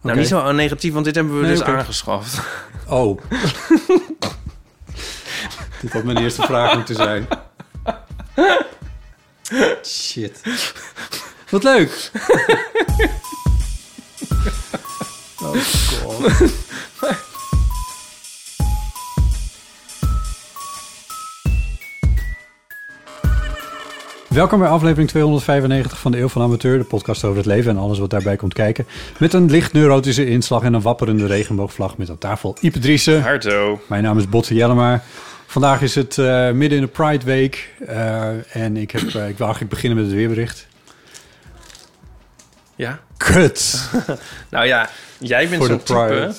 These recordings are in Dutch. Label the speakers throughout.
Speaker 1: Nou, niet zo negatief, want dit hebben we
Speaker 2: Nee,
Speaker 1: dus
Speaker 2: oké.
Speaker 1: aangeschaft.
Speaker 2: Oh. Dit had mijn eerste vraag moeten zijn. Shit. Wat leuk. Oh god. Welkom bij aflevering 295 van de Eeuw van Amateur, de podcast over het leven en alles wat daarbij komt kijken. Met een licht neurotische inslag en een wapperende regenboogvlag met aan tafel Ipe Driessen.
Speaker 1: Harto.
Speaker 2: Mijn naam is Botte Jellema. Vandaag is het eh, midden in de Pride Week. eh, en ik, heb, eh, ik wil eigenlijk beginnen met het weerbericht.
Speaker 1: Ja.
Speaker 2: Kut!
Speaker 1: Nou ja, jij bent
Speaker 2: Voor de
Speaker 1: zo'n type,
Speaker 2: Pride.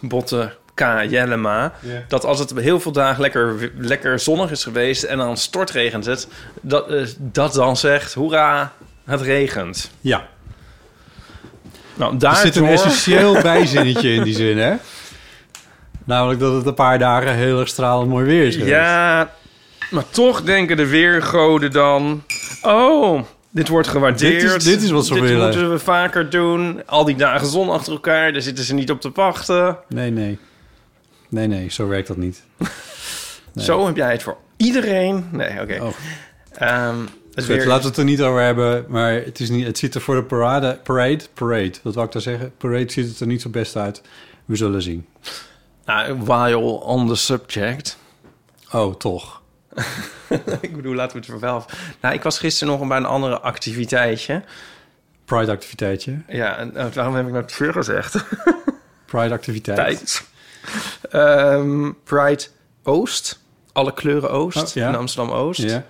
Speaker 1: Botte K. Jellema,
Speaker 2: Ja.
Speaker 1: dat als het heel veel dagen lekker, lekker zonnig is geweest en dan stortregent het, dat, eh, dat dan zegt, hoera, het regent.
Speaker 2: Ja,
Speaker 1: Nou,
Speaker 2: er
Speaker 1: daar
Speaker 2: zit een essentieel bijzinnetje in die zin, hè? Namelijk dat het een paar dagen heel erg stralend mooi weer is. geweest.
Speaker 1: Ja, maar toch denken de weergoden dan... Oh, dit wordt gewaardeerd.
Speaker 2: Dit is- dit is wat ze
Speaker 1: Dit
Speaker 2: willen.
Speaker 1: moeten we vaker doen. Al die dagen zon achter elkaar, daar zitten ze niet op te wachten.
Speaker 2: Nee, nee. Nee, nee, zo werkt dat niet. Nee.
Speaker 1: Zo heb jij het voor iedereen. Nee, oké.
Speaker 2: Oh.
Speaker 1: Ehm, het
Speaker 2: Goed,
Speaker 1: weer-
Speaker 2: laten we het er niet over hebben. Maar het, is niet, het ziet er voor de parade, parade, parade, wat wou ik daar zeggen? Parade ziet het er niet zo best uit. We zullen zien.
Speaker 1: Nou, while on the subject.
Speaker 2: Oh, toch.
Speaker 1: ik bedoel, laten we het voor wel... Nou, ik was gisteren nog bij een andere activiteitje.
Speaker 2: Pride-activiteitje.
Speaker 1: Ja, en, eh, waarom heb ik nou het weer gezegd?
Speaker 2: Pride-activiteit.
Speaker 1: Tijd. Ehm, Pride Oost. Alle kleuren Oost.
Speaker 2: Oh, ja.
Speaker 1: In Amsterdam-Oost.
Speaker 2: Ja.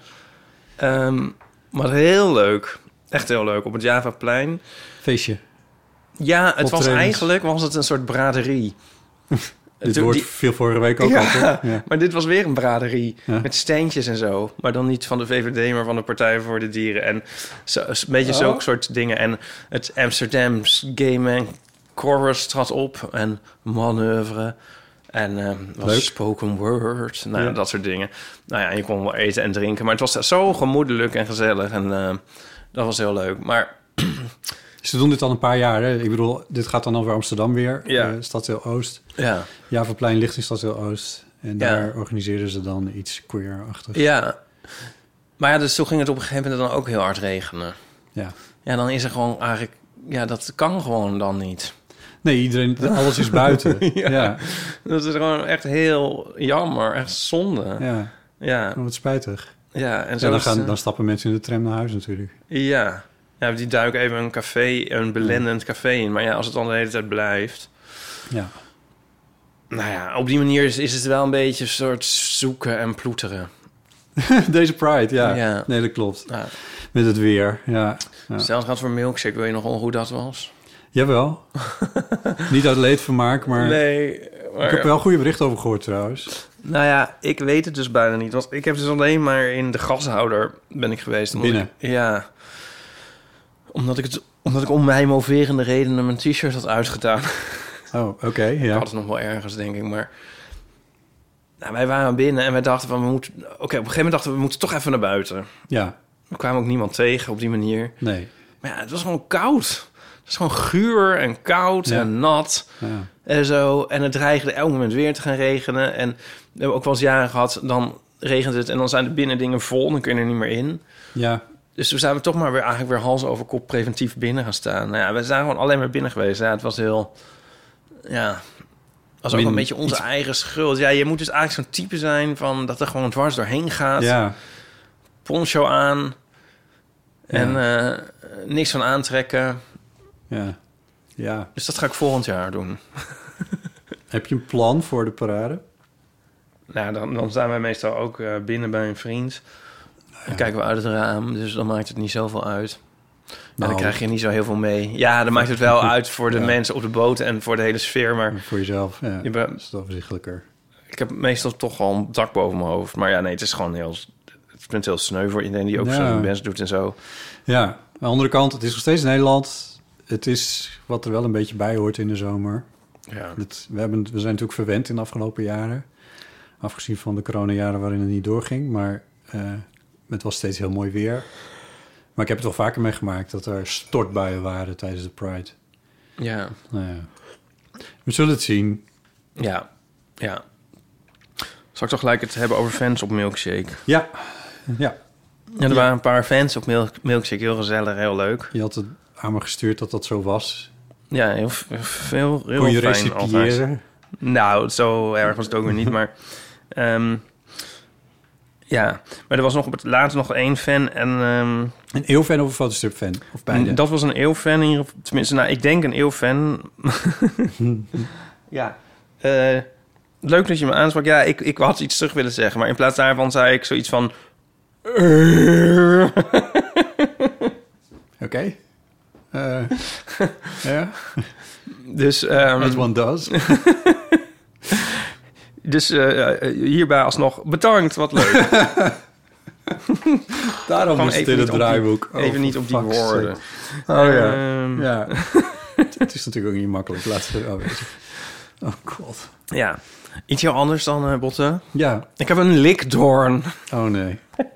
Speaker 1: Ehm, maar heel leuk. Echt heel leuk. Op het Javaplein.
Speaker 2: Feestje.
Speaker 1: Ja, het was
Speaker 2: Optredens.
Speaker 1: eigenlijk was het een soort braderie.
Speaker 2: Dit
Speaker 1: Toen
Speaker 2: woord
Speaker 1: die-
Speaker 2: viel vorige week ook
Speaker 1: Ja.
Speaker 2: al, toch? Ja.
Speaker 1: Maar dit was weer een braderie.
Speaker 2: Ja.
Speaker 1: Met steentjes en zo. Maar dan niet van de VVD, maar van de Partij voor de Dieren. En zo, een beetje
Speaker 2: Oh.
Speaker 1: zulke soort dingen. En het Amsterdams Gay Man Chorus trad op. En manoeuvre. En ehm was
Speaker 2: Leuk.
Speaker 1: spoken word. Nou, ja,
Speaker 2: Ja.
Speaker 1: dat soort dingen. Nou ja, je kon wel eten en drinken. Maar het was zo gemoedelijk en gezellig. En ehm, dat was heel leuk. Maar
Speaker 2: Ze doen dit al een paar jaar. Hè? Ik bedoel, dit gaat dan over Amsterdam weer.
Speaker 1: Ja.
Speaker 2: Eh, Stadsdeel Oost.
Speaker 1: ja...
Speaker 2: Javaplein ligt in Stadsdeel Oost. En
Speaker 1: Ja.
Speaker 2: daar organiseren ze dan iets queer-achtigs.
Speaker 1: Ja. Maar ja, dus toen ging het op een gegeven moment dan ook heel hard regenen.
Speaker 2: Ja.
Speaker 1: Ja, dan is er gewoon eigenlijk... Ja, dat kan gewoon dan niet.
Speaker 2: Nee, iedereen, alles is buiten. ja.
Speaker 1: Ja.
Speaker 2: Ja.
Speaker 1: Dat is gewoon echt heel jammer. Echt zonde. Ja.
Speaker 2: ja, Oh,
Speaker 1: Ja,
Speaker 2: wat spijtig.
Speaker 1: en zo
Speaker 2: Ja, dan,
Speaker 1: is het,
Speaker 2: gaan,
Speaker 1: eh,
Speaker 2: dan stappen mensen in de tram naar huis natuurlijk.
Speaker 1: Ja. Ja, die duiken even een café, een belendend café in. Maar ja, als het dan de hele tijd blijft...
Speaker 2: Ja.
Speaker 1: Nou ja, op die manier is, is het wel een beetje een soort zoeken en ploeteren.
Speaker 2: Deze Pride, ja.
Speaker 1: Ja.
Speaker 2: Nee, dat klopt.
Speaker 1: Ja.
Speaker 2: Met het weer, ja. ja.
Speaker 1: Zelfs gaat voor milkshake, weet je nog wel hoe dat was?
Speaker 2: Jawel. Niet uit leedvermaak, maar...
Speaker 1: Nee, maar...
Speaker 2: Ik heb er wel goede berichten over gehoord trouwens.
Speaker 1: Nou ja, ik weet het dus bijna niet. Want ik heb dus alleen maar in de gashouder ben ik geweest. omdat
Speaker 2: Binnen?
Speaker 1: ik- ja. Omdat ik, het, omdat ik om mij moverende redenen mijn t-shirt had uitgedaan.
Speaker 2: Oh, oké,
Speaker 1: Ik
Speaker 2: ja.
Speaker 1: had het nog wel ergens, denk ik. Maar nou, wij waren binnen en wij dachten van... we moeten. Oké, op een gegeven moment dachten we... we moeten toch even naar buiten.
Speaker 2: Ja,
Speaker 1: We kwamen ook niemand tegen op die manier.
Speaker 2: nee.
Speaker 1: Maar ja, het was gewoon koud. Het was gewoon guur en koud
Speaker 2: Ja.
Speaker 1: en nat.
Speaker 2: Ja.
Speaker 1: En zo. En het dreigde elk moment weer te gaan regenen. En we hebben ook wel eens jaren gehad, dan regent het en dan zijn de binnendingen vol. Dan kun je er niet meer in.
Speaker 2: Ja,
Speaker 1: Dus toen zijn we toch maar weer eigenlijk weer hals over kop preventief binnen gaan staan. Nou ja, we zijn gewoon alleen maar binnen geweest. Ja, het was heel... Ja, was ook
Speaker 2: Min-
Speaker 1: een beetje onze
Speaker 2: iets-
Speaker 1: eigen schuld. Ja, je moet dus eigenlijk zo'n type zijn van dat er gewoon dwars doorheen gaat.
Speaker 2: Ja,
Speaker 1: Poncho aan. En eh, niks van aantrekken.
Speaker 2: ja, ja.
Speaker 1: Dus dat ga ik volgend jaar doen.
Speaker 2: Heb je een plan voor de parade?
Speaker 1: Nou, dan, dan zijn wij meestal ook eh, binnen bij een vriend. Dan kijken we uit het raam, dus dan maakt het niet zoveel uit. En
Speaker 2: Nou.
Speaker 1: dan krijg je niet zo heel veel mee. Ja, dan maakt het wel uit voor de mensen op de boot en voor de hele sfeer. Maar
Speaker 2: Voor jezelf? Ja,
Speaker 1: Je
Speaker 2: dat
Speaker 1: bent-
Speaker 2: is het overzichtelijker.
Speaker 1: ik heb meestal toch al een dak boven mijn hoofd. Maar ja, nee, het is gewoon heel... Het vindt heel sneu voor iedereen die ook
Speaker 2: Ja.
Speaker 1: zo'n best doet en zo.
Speaker 2: Ja, aan de andere kant, het is nog steeds Nederland. Het is wat er wel een beetje bij hoort in de zomer.
Speaker 1: Ja.
Speaker 2: Het- we, hebben, we zijn natuurlijk verwend in de afgelopen jaren. Afgezien van de coronajaren waarin het niet doorging. Maar eh, het was steeds heel mooi weer. Maar ik heb het wel vaker meegemaakt dat er stortbuien waren tijdens de Pride.
Speaker 1: Ja.
Speaker 2: Nou ja. We zullen het zien.
Speaker 1: Ja. Ja. Zal ik toch gelijk het hebben over fans op Milkshake?
Speaker 2: Ja, ja.
Speaker 1: Ja, er waren een paar fans op Milk- Milkshake. Heel gezellig, heel leuk.
Speaker 2: je had het aan me gestuurd dat dat zo was.
Speaker 1: Ja, heel, f- veel, heel
Speaker 2: Kon je
Speaker 1: fijn altijd.
Speaker 2: recipiëren?
Speaker 1: Nou, zo erg was het ook weer niet, maar... ehm, ja, maar er was nog op het laatst nog één fan en... ehm,
Speaker 2: Een eeuwfan of een fotostripfan? Of beide?
Speaker 1: dat was een eeuwfan in ieder geval. Tenminste, nou, ik denk een eeuwfan. ja. Eh, leuk dat je me aansprak. Ja, ik, ik had iets terug willen zeggen, maar in plaats daarvan zei ik zoiets van...
Speaker 2: Oké. Eh, ja,
Speaker 1: Dus, ehm,
Speaker 2: as one does.
Speaker 1: dus eh, eh, hierbij alsnog bedankt, wat leuk.
Speaker 2: Daarom
Speaker 1: Gewoon
Speaker 2: moest het in het
Speaker 1: niet op die-
Speaker 2: draaiboek. Oh,
Speaker 1: even niet
Speaker 2: for
Speaker 1: op die
Speaker 2: fuck's sake.
Speaker 1: woorden.
Speaker 2: Oh ja.
Speaker 1: Ehm,
Speaker 2: ja. het is natuurlijk ook niet makkelijk. Laten we wel wezen. Oh god.
Speaker 1: ja. Iets heel anders dan eh, Botten.
Speaker 2: Ja.
Speaker 1: Ik heb een likdoorn.
Speaker 2: Oh nee.
Speaker 1: Oh.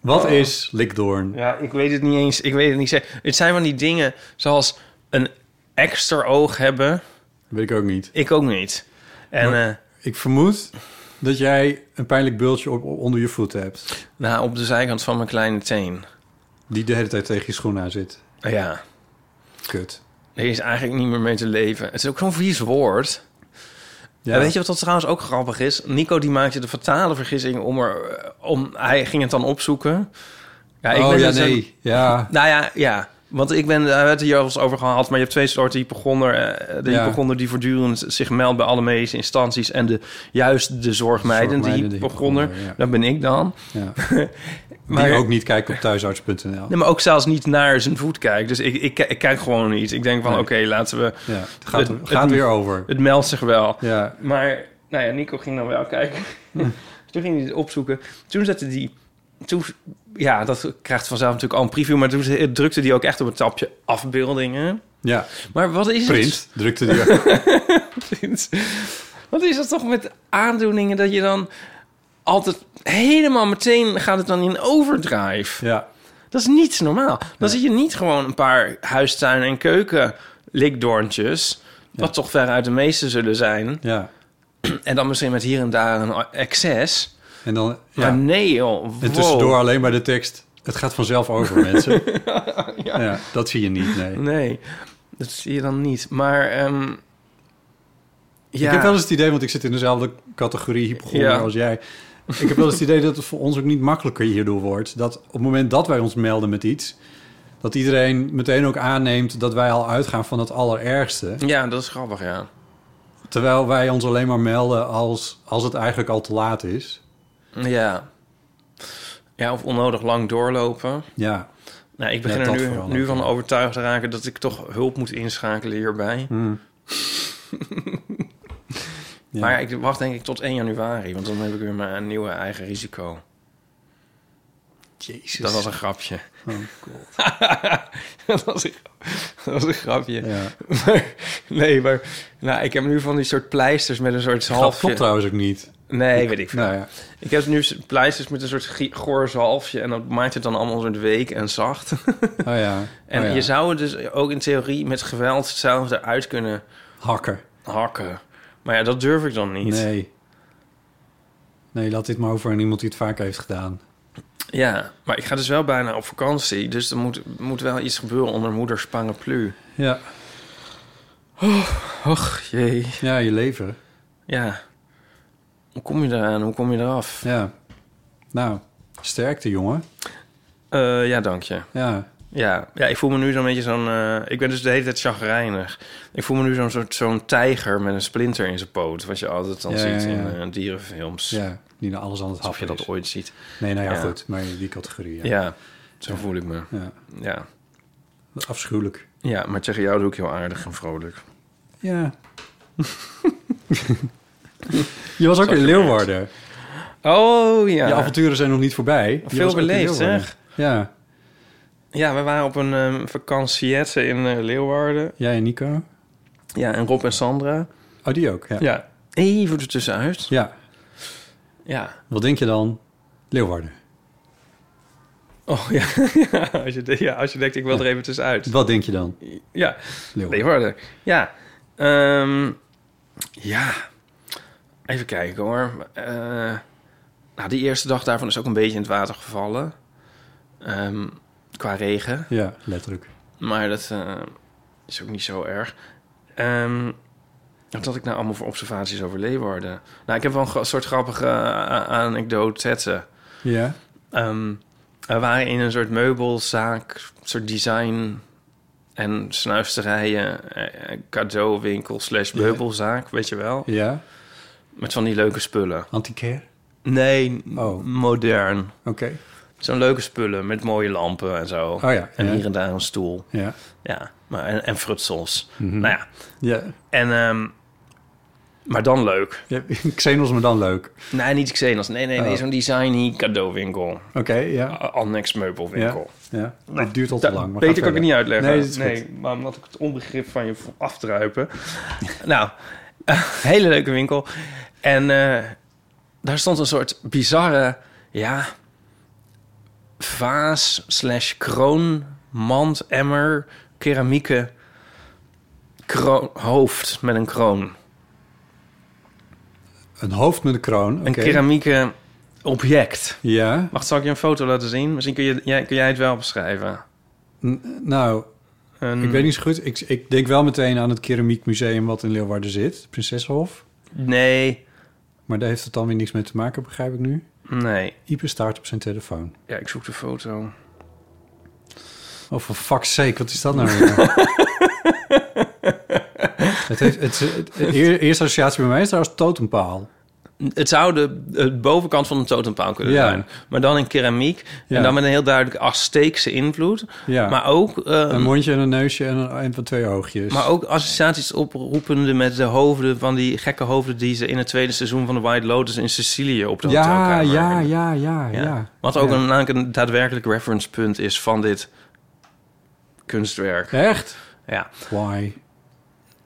Speaker 2: Wat is likdoorn?
Speaker 1: Ja, ik weet het niet eens. Ik weet het niet zeker. Het zijn van die dingen zoals een extra oog hebben.
Speaker 2: Weet ik ook niet.
Speaker 1: Ik ook niet. En eh,
Speaker 2: Ik vermoed dat jij een pijnlijk bultje op, onder je voet hebt.
Speaker 1: nou, op de zijkant van mijn kleine teen.
Speaker 2: Die de hele tijd tegen je schoen aan zit.
Speaker 1: Ah, Ja,
Speaker 2: Kut.
Speaker 1: er is eigenlijk niet meer mee te leven. Het is ook zo'n vies woord.
Speaker 2: Ja.
Speaker 1: En weet je wat dat trouwens ook grappig is? Nico die maakte de fatale vergissing om er... eh, Om, hij ging het dan opzoeken. Ja, ik
Speaker 2: oh
Speaker 1: ben
Speaker 2: ja,
Speaker 1: dus een-
Speaker 2: nee. Ja.
Speaker 1: Nou ja, ja. Want ik ben, daar hebben we het hier al eens over gehad, maar je hebt twee soorten hypochonder. eh, De
Speaker 2: Ja.
Speaker 1: hypochonder die voortdurend zich meldt bij alle medische instanties en de, juist de zorgmijdende
Speaker 2: Zorgmijdende
Speaker 1: hypochonder.
Speaker 2: hypochonder, ja.
Speaker 1: Dat ben ik dan.
Speaker 2: ja.
Speaker 1: Maar,
Speaker 2: Die ook niet kijken op thuisarts.nl.
Speaker 1: nee, maar ook zelfs niet naar zijn voet kijkt. Dus ik, ik, ik kijk gewoon niet. Ik denk van
Speaker 2: Nee.
Speaker 1: oké, laten we...
Speaker 2: Ja, het gaat,
Speaker 1: Het-
Speaker 2: gaat
Speaker 1: het-
Speaker 2: weer over.
Speaker 1: Het meldt zich wel.
Speaker 2: Ja,
Speaker 1: Maar, nou ja, Nico ging dan wel kijken.
Speaker 2: Hm.
Speaker 1: toen ging hij het opzoeken. Toen zette hij... Toen, ja, dat krijgt vanzelf natuurlijk al een preview, maar toen drukte hij ook echt op het tapje afbeeldingen.
Speaker 2: ja.
Speaker 1: Maar wat is het?
Speaker 2: Prins drukte die.
Speaker 1: Prins. Wat is dat toch met aandoeningen dat je dan altijd helemaal meteen gaat het dan in overdrive?
Speaker 2: ja,
Speaker 1: Dat is niet normaal. Dan zie je niet gewoon een paar huistuin- en keuken likdoorntjes. Wat toch veruit de meeste zullen zijn.
Speaker 2: ja.
Speaker 1: En dan misschien met hier en daar een excess.
Speaker 2: En dan
Speaker 1: Ja.
Speaker 2: ja.
Speaker 1: Maar Ah, nee, joh. Wow.
Speaker 2: en tussendoor alleen maar de tekst. Het gaat vanzelf over mensen. ja. dat zie je niet. Nee.
Speaker 1: Nee, dat zie je dan niet. Maar ehm, ja.
Speaker 2: Ik heb wel eens het idee, want ik zit in dezelfde categorie hypochonder
Speaker 1: Ja.
Speaker 2: als jij. Ik heb wel eens het idee dat het voor ons ook niet makkelijker hierdoor wordt. Dat op het moment dat wij ons melden met iets, dat iedereen meteen ook aanneemt dat wij al uitgaan van het allerergste.
Speaker 1: Ja, dat is grappig, ja.
Speaker 2: Terwijl wij ons alleen maar melden als, als het eigenlijk al te laat is.
Speaker 1: Ja. Ja, of onnodig lang doorlopen.
Speaker 2: Ja,
Speaker 1: Nou, ik begin
Speaker 2: Ja,
Speaker 1: er
Speaker 2: dat
Speaker 1: nu,
Speaker 2: vooral
Speaker 1: nu
Speaker 2: ook,
Speaker 1: van
Speaker 2: ja.
Speaker 1: overtuigd te raken dat ik toch hulp moet inschakelen hierbij.
Speaker 2: Hmm. Ja.
Speaker 1: Maar ik wacht denk ik tot 1 januari, want dan heb ik weer mijn nieuwe eigen risico.
Speaker 2: Jezus.
Speaker 1: Dat was een grapje.
Speaker 2: Oh,
Speaker 1: dat, was een, grap- dat was een grapje.
Speaker 2: Ja.
Speaker 1: Maar, nee, maar nou, ik heb nu van die soort pleisters met een soort
Speaker 2: Dat klopt
Speaker 1: halfje.
Speaker 2: trouwens ook niet.
Speaker 1: Nee, weet ik veel.
Speaker 2: Nou ja.
Speaker 1: Ik heb nu pleisters met een soort gie- goor zalfje en dat maakt het dan allemaal een soort week en zacht.
Speaker 2: Oh ja.
Speaker 1: En
Speaker 2: Oh ja.
Speaker 1: je zou het dus ook in theorie met geweld zelf eruit kunnen
Speaker 2: Hakken.
Speaker 1: hakken. Maar ja, dat durf ik dan niet.
Speaker 2: Nee. Nee, laat dit maar over aan iemand die het vaak heeft gedaan.
Speaker 1: Ja, maar ik ga dus wel bijna op vakantie. Dus er moet, moet wel iets gebeuren onder moeders paraplu.
Speaker 2: Ja.
Speaker 1: Och, jee.
Speaker 2: Ja, je leven.
Speaker 1: Ja. Hoe kom je eraan? Hoe kom je eraf?
Speaker 2: Ja. Nou, sterkte jongen.
Speaker 1: Eh, ja, dank je.
Speaker 2: Ja.
Speaker 1: Ja, ja, ik voel me nu zo'n beetje zo'n... eh, ik ben dus de hele tijd chagrijnig. Ik voel me nu zo'n soort zo'n tijger met een splinter in zijn poot. Wat je altijd dan
Speaker 2: Ja,
Speaker 1: ziet
Speaker 2: ja, ja.
Speaker 1: in eh, dierenfilms.
Speaker 2: Ja. Die naar alles aan het
Speaker 1: Of je
Speaker 2: happen
Speaker 1: dat
Speaker 2: is.
Speaker 1: ooit ziet.
Speaker 2: Nee, nou ja,
Speaker 1: Ja.
Speaker 2: goed. Maar in die categorie, ja.
Speaker 1: Ja, zo voel ik me.
Speaker 2: Ja.
Speaker 1: Ja.
Speaker 2: Afschuwelijk.
Speaker 1: ja, maar tegen jou doe ik heel aardig en vrolijk.
Speaker 2: Ja. je was ook in Leeuwarden.
Speaker 1: Oh ja.
Speaker 2: Je avonturen zijn nog niet voorbij. Je
Speaker 1: Veel
Speaker 2: was ook in
Speaker 1: beleefd,
Speaker 2: Leeuwarden.
Speaker 1: zeg.
Speaker 2: Ja.
Speaker 1: Ja, we waren op een ehm vakantiette in eh, Leeuwarden.
Speaker 2: Jij en Nico?
Speaker 1: Ja, en Rob en Sandra.
Speaker 2: Oh, die ook, ja.
Speaker 1: Ja. Even ertussenuit.
Speaker 2: Ja.
Speaker 1: Ja.
Speaker 2: Wat denk je dan? Leeuwarden.
Speaker 1: Oh ja. als je, de- ja, als je denkt, ik wil er even tussenuit.
Speaker 2: Wat denk je dan?
Speaker 1: Ja.
Speaker 2: Leeuwarden.
Speaker 1: Leeuwarden. Ja. Ehm, ja. Even kijken hoor. Eh, nou, die eerste dag daarvan is ook een beetje in het water gevallen. Ehm, qua regen.
Speaker 2: Ja, letterlijk.
Speaker 1: Maar dat eh, is ook niet zo erg. Ehm wat had ik nou allemaal voor observaties over Leeuwarden? Nou, ik heb wel een gra- soort grappige eh, anekdote.
Speaker 2: Ja.
Speaker 1: Ehm we waren in een soort meubelzaak, soort design en snuisterijen, eh, eh, cadeauwinkel slash meubelzaak, weet je wel?
Speaker 2: Ja.
Speaker 1: Met van die leuke spullen.
Speaker 2: Antiquaire?
Speaker 1: Nee,
Speaker 2: Oh.
Speaker 1: modern.
Speaker 2: Oké.
Speaker 1: Zo'n leuke spullen met mooie lampen en zo.
Speaker 2: Oh ja,
Speaker 1: En
Speaker 2: ja.
Speaker 1: hier en daar een stoel.
Speaker 2: Ja. Mhm.
Speaker 1: Ja, maar, en, en frutsels. Nou ja,
Speaker 2: Ja.
Speaker 1: en, ehm, maar dan leuk.
Speaker 2: ja. Xenos, maar dan leuk.
Speaker 1: Nee, niet Xenos. Nee, nee, nee.
Speaker 2: Oh.
Speaker 1: Zo'n designy cadeauwinkel.
Speaker 2: Oké, ja.
Speaker 1: A- Annex meubelwinkel.
Speaker 2: Ja. ja. Het duurt al te lang. maar ga
Speaker 1: Beter kan Nou, ik
Speaker 2: verder.
Speaker 1: het niet uitleggen.
Speaker 2: Nee, dat is goed.
Speaker 1: maar omdat ik het onbegrip van je vo- afdruipen. nou, hele leuke winkel. En eh, daar stond een soort bizarre, ja, vaas slash kroon, mand, emmer, keramieke kroon, hoofd met een kroon.
Speaker 2: Een hoofd met een kroon.
Speaker 1: Een
Speaker 2: oké.
Speaker 1: keramieke object.
Speaker 2: Ja.
Speaker 1: Wacht, zal ik je een foto laten zien? Misschien kun, je, jij, kun jij het wel beschrijven.
Speaker 2: N- nou,
Speaker 1: Een,
Speaker 2: ik weet niet zo goed. Ik, ik denk wel meteen aan het keramiekmuseum wat in Leeuwarden zit. Prinsessenhof.
Speaker 1: Nee,
Speaker 2: Maar daar heeft het dan weer niks mee te maken, begrijp ik nu.
Speaker 1: nee.
Speaker 2: Ipe staart op zijn telefoon.
Speaker 1: Ja, ik zoek de foto.
Speaker 2: Oh, for fuck's sake, wat is dat nou weer? het heeft, het, het- de eer- eerste associatie bij mij is trouwens totempaal.
Speaker 1: Het zou de, de bovenkant van een totempaal kunnen
Speaker 2: Ja.
Speaker 1: zijn. Maar dan in keramiek.
Speaker 2: Ja.
Speaker 1: En dan met een heel duidelijke Azteekse invloed.
Speaker 2: Ja.
Speaker 1: Maar, ook, eh,
Speaker 2: Een mondje en een neusje en, een, en van twee oogjes.
Speaker 1: maar ook associaties oproepende met de hoofden van die gekke hoofden... die ze in het tweede seizoen van The White Lotus in Sicilië op de
Speaker 2: ja,
Speaker 1: hotelkamer
Speaker 2: ja,
Speaker 1: hebben.
Speaker 2: ja, ja, ja,
Speaker 1: Wat ook
Speaker 2: Ja.
Speaker 1: een, namelijk een daadwerkelijk referencepunt is van dit kunstwerk.
Speaker 2: Echt?
Speaker 1: Ja.
Speaker 2: Why?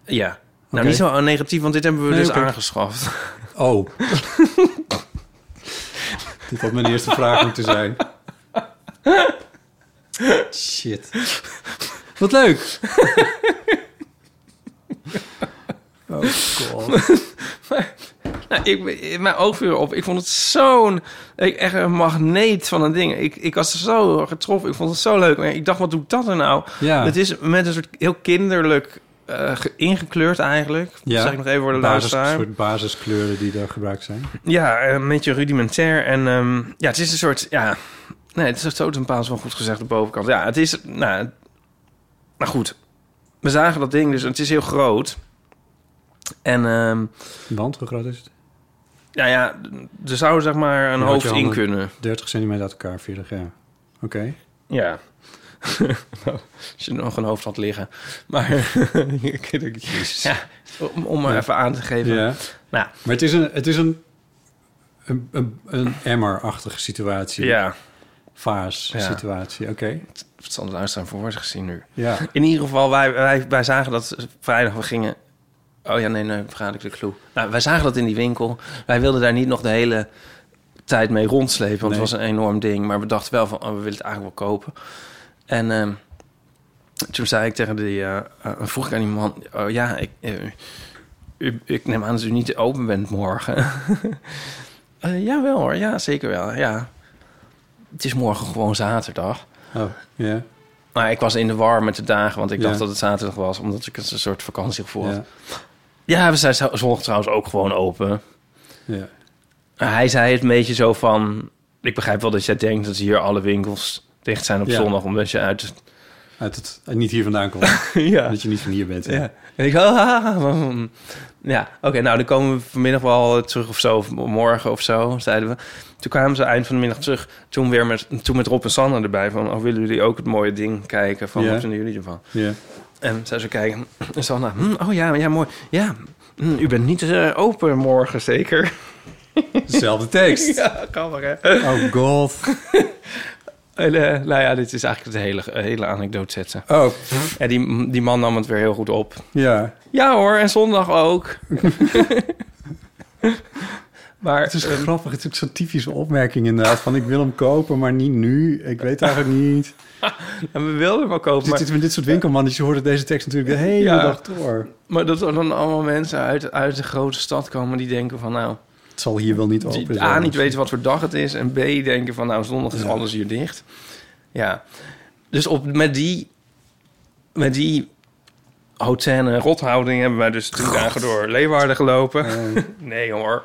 Speaker 1: ja. Nou,
Speaker 2: Oké.
Speaker 1: niet zo negatief, want dit hebben we
Speaker 2: Nee,
Speaker 1: dus
Speaker 2: oké.
Speaker 1: aangeschaft.
Speaker 2: Oh. Dit had mijn eerste vraag moeten zijn. Shit. Wat leuk. Oh god.
Speaker 1: Nou, ik, mijn oog viel op. Ik vond het zo'n... Ik, echt een magneet van een ding. Ik, ik was zo getroffen. Ik vond het zo leuk. Maar ik dacht, wat doet dat er nou?
Speaker 2: Ja.
Speaker 1: Het is met een soort heel kinderlijk... eh, ge- ingekleurd eigenlijk. Dat zeg ik nog even voor de
Speaker 2: basis,
Speaker 1: luisteraar.
Speaker 2: soort basiskleuren die daar gebruikt zijn.
Speaker 1: Ja, eh, een beetje rudimentair. En ehm, ja, het is een soort... Ja, nee, het is een totempaal is wel goed gezegd. De bovenkant. Ja, het is... Nou, maar goed. We zagen dat ding dus. Het is heel groot. En... ehm,
Speaker 2: Want hoe groot is het?
Speaker 1: nou ja, er zou zeg maar een
Speaker 2: je
Speaker 1: hoofd in
Speaker 2: handen-
Speaker 1: kunnen.
Speaker 2: 30 centimeter uit elkaar, 40 ja. Oké.
Speaker 1: Ja. Als je nog een hoofd had liggen. Maar ja, om, om maar even aan te geven.
Speaker 2: Ja.
Speaker 1: Nou.
Speaker 2: Maar het is een, het is een, een, een, een emmer-achtige situatie.
Speaker 1: Ja,
Speaker 2: Vaas
Speaker 1: Ja.
Speaker 2: situatie. Oké.
Speaker 1: het zal de luisteraar voor woord gezien nu.
Speaker 2: Ja.
Speaker 1: In ieder geval, wij, wij, wij zagen dat vrijdag we gingen... Oh ja, nee, nee, vergaat ik de clue. Nou, wij zagen dat in die winkel. Wij wilden daar niet nog de hele tijd mee rondslepen. Want het
Speaker 2: Nee.
Speaker 1: was een enorm ding. Maar we dachten wel van, oh, we willen het eigenlijk wel kopen. En ehm, toen zei ik tegen die... eh, eh, vroeg ik aan die man... Oh ja, ik, eh, u- ik neem aan dat u niet open bent morgen. Eh, ja, wel hoor. Ja, zeker wel. Ja. het is morgen gewoon zaterdag.
Speaker 2: Oh, ja.
Speaker 1: Maar ik was in de war met de dagen, want ik
Speaker 2: Ja.
Speaker 1: dacht dat het zaterdag was, omdat ik het een soort vakantiegevoel had.
Speaker 2: Ja.
Speaker 1: Ja, we zijn zo- zondag trouwens ook gewoon open.
Speaker 2: ja.
Speaker 1: Hij zei het een beetje zo van... Ik begrijp wel dat jij denkt dat hier alle winkels dicht zijn op
Speaker 2: Ja.
Speaker 1: zondag... omdat je uit...
Speaker 2: Uit het, en niet hier vandaan komt.
Speaker 1: ja.
Speaker 2: Dat je niet van hier bent. hè?
Speaker 1: ja. En ik "Ah, zo... ja, oké, nou dan komen we vanmiddag wel terug of zo. Of morgen of zo, zeiden we. Toen kwamen ze eind van de middag terug. Toen weer met, toen met Rob en Sanne erbij. Van, oh, willen jullie ook het mooie ding kijken? Van,
Speaker 2: Ja.
Speaker 1: wat vinden jullie ervan?
Speaker 2: Ja.
Speaker 1: En zij zo kijken. En Sanne, hm, oh ja, ja, mooi. Ja, hm, u bent niet eh, open morgen, zeker?
Speaker 2: Dezelfde tekst.
Speaker 1: Ja, grappig hè?
Speaker 2: Oh god.
Speaker 1: En, eh, nou ja, dit is eigenlijk de hele, eh, hele anekdote zetten.
Speaker 2: Oh,
Speaker 1: En die, die man nam het weer heel goed op.
Speaker 2: ja.
Speaker 1: Ja hoor, en zondag ook. maar
Speaker 2: Het is
Speaker 1: ehm,
Speaker 2: grappig. Het is ook zo'n typische opmerking inderdaad. Van ik wil hem kopen, maar niet nu. Ik weet eigenlijk niet.
Speaker 1: en we wilden hem wel kopen.
Speaker 2: Dit,
Speaker 1: Maar,
Speaker 2: dit, met dit soort winkelmannetjes hoorden deze tekst natuurlijk de hele
Speaker 1: Ja.
Speaker 2: dag door.
Speaker 1: maar dat er dan allemaal mensen uit, uit de grote stad komen die denken van nou...
Speaker 2: Het zal hier wel niet open
Speaker 1: Die
Speaker 2: zijn.
Speaker 1: A, niet weten wat voor dag het is. En B, denken van nou zondag is
Speaker 2: Ja.
Speaker 1: alles hier dicht. Ja. Dus op, met die... Met die hotel en rothouding hebben wij dus drie dagen door Leeuwarden gelopen. Nee hoor.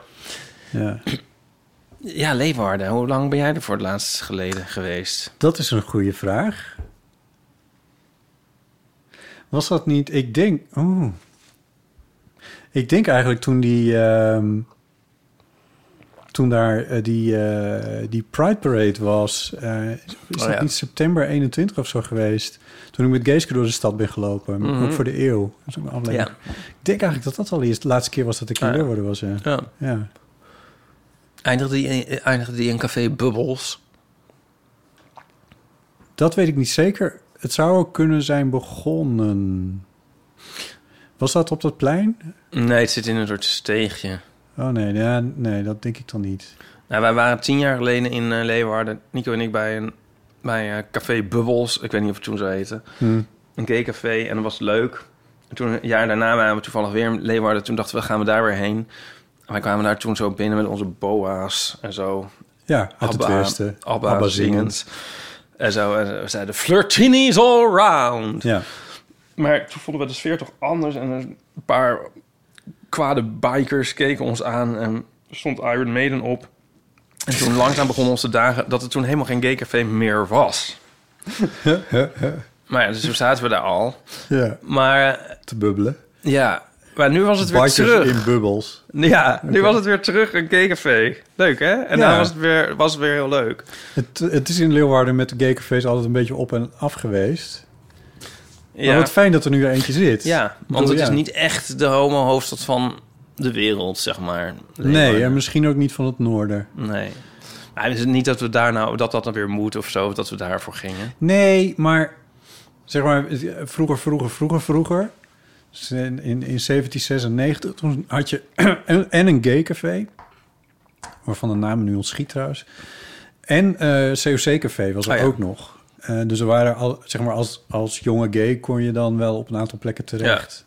Speaker 2: Ja.
Speaker 1: Ja, Leeuwarden. Hoe lang ben jij er voor het laatst geleden geweest?
Speaker 2: Dat is een goede vraag. Was dat niet? Ik denk. Oh. Ik denk eigenlijk toen die. ehm, toen daar eh, die, eh, die Pride Parade was. eh, is dat
Speaker 1: Oh, ja.
Speaker 2: niet september 21 of zo geweest? Toen ik met Geeske door de stad ben gelopen.
Speaker 1: Mhm.
Speaker 2: Ook voor de eeuw. Dat is ook een aflevering. Ik denk eigenlijk dat dat al eerst de laatste keer was dat ik in
Speaker 1: Ah, ja.
Speaker 2: Leeuwarden was. Ja.
Speaker 1: Ja.
Speaker 2: ja.
Speaker 1: Eindigde die, eindigde die in café Bubbles?
Speaker 2: Dat weet ik niet zeker. Het zou ook kunnen zijn begonnen. Was dat op dat plein?
Speaker 1: Nee, het zit in een soort steegje.
Speaker 2: Oh nee, ja, nee, dat denk ik dan niet.
Speaker 1: Nou, wij waren tien jaar geleden in eh, Leeuwarden, Nico en ik, bij een bij, eh, café Bubbles. Ik weet niet of het toen zo heette. Een gaycafé en dat was leuk. En toen, een jaar daarna waren we toevallig weer in Leeuwarden. Toen dachten we, gaan we daar weer heen? En wij kwamen daar toen zo binnen met onze boa's en zo.
Speaker 2: Ja, uit het
Speaker 1: Abba-
Speaker 2: westen.
Speaker 1: Abba, zingend. En zo, en we zeiden, flirtinis all round.
Speaker 2: Ja,
Speaker 1: Maar toen vonden we de sfeer toch anders. En een paar kwade bikers keken ons aan. En er stond Iron Maiden op. En toen langzaam begonnen onze dagen dat er toen helemaal geen gaycafé meer was. maar ja, dus toen zaten we daar al.
Speaker 2: ja,
Speaker 1: Maar eh,
Speaker 2: te bubbelen.
Speaker 1: ja, maar nu was het weer
Speaker 2: Bikers
Speaker 1: terug.
Speaker 2: in bubbels.
Speaker 1: Ja, nu was het weer terug een gaycafé. Leuk hè? En
Speaker 2: Ja.
Speaker 1: daar was het, weer, was het weer heel leuk.
Speaker 2: Het, het is in Leeuwarden met de gaycafés altijd een beetje op en af geweest. Maar
Speaker 1: Ja,
Speaker 2: wat fijn dat er nu weer eentje zit.
Speaker 1: ja
Speaker 2: Ik bedoel,
Speaker 1: want het
Speaker 2: ja.
Speaker 1: is niet echt de homo-hoofdstad van de wereld, zeg maar.
Speaker 2: Nee, en misschien ook niet van het noorden.
Speaker 1: Nee. Maar is het niet dat we daar nou dat dat dan weer moet of zo, of dat we daarvoor gingen?
Speaker 2: Nee, maar zeg maar vroeger, vroeger, vroeger, vroeger. Dus in, in, in 1796 toen had je en, en een gaycafé, waarvan de naam me nu ontschiet trouwens. En eh COC-café was er
Speaker 1: Ah, ja.
Speaker 2: ook nog. Eh, dus er waren al, zeg maar als, als jonge gay kon je dan wel op een aantal plekken terecht.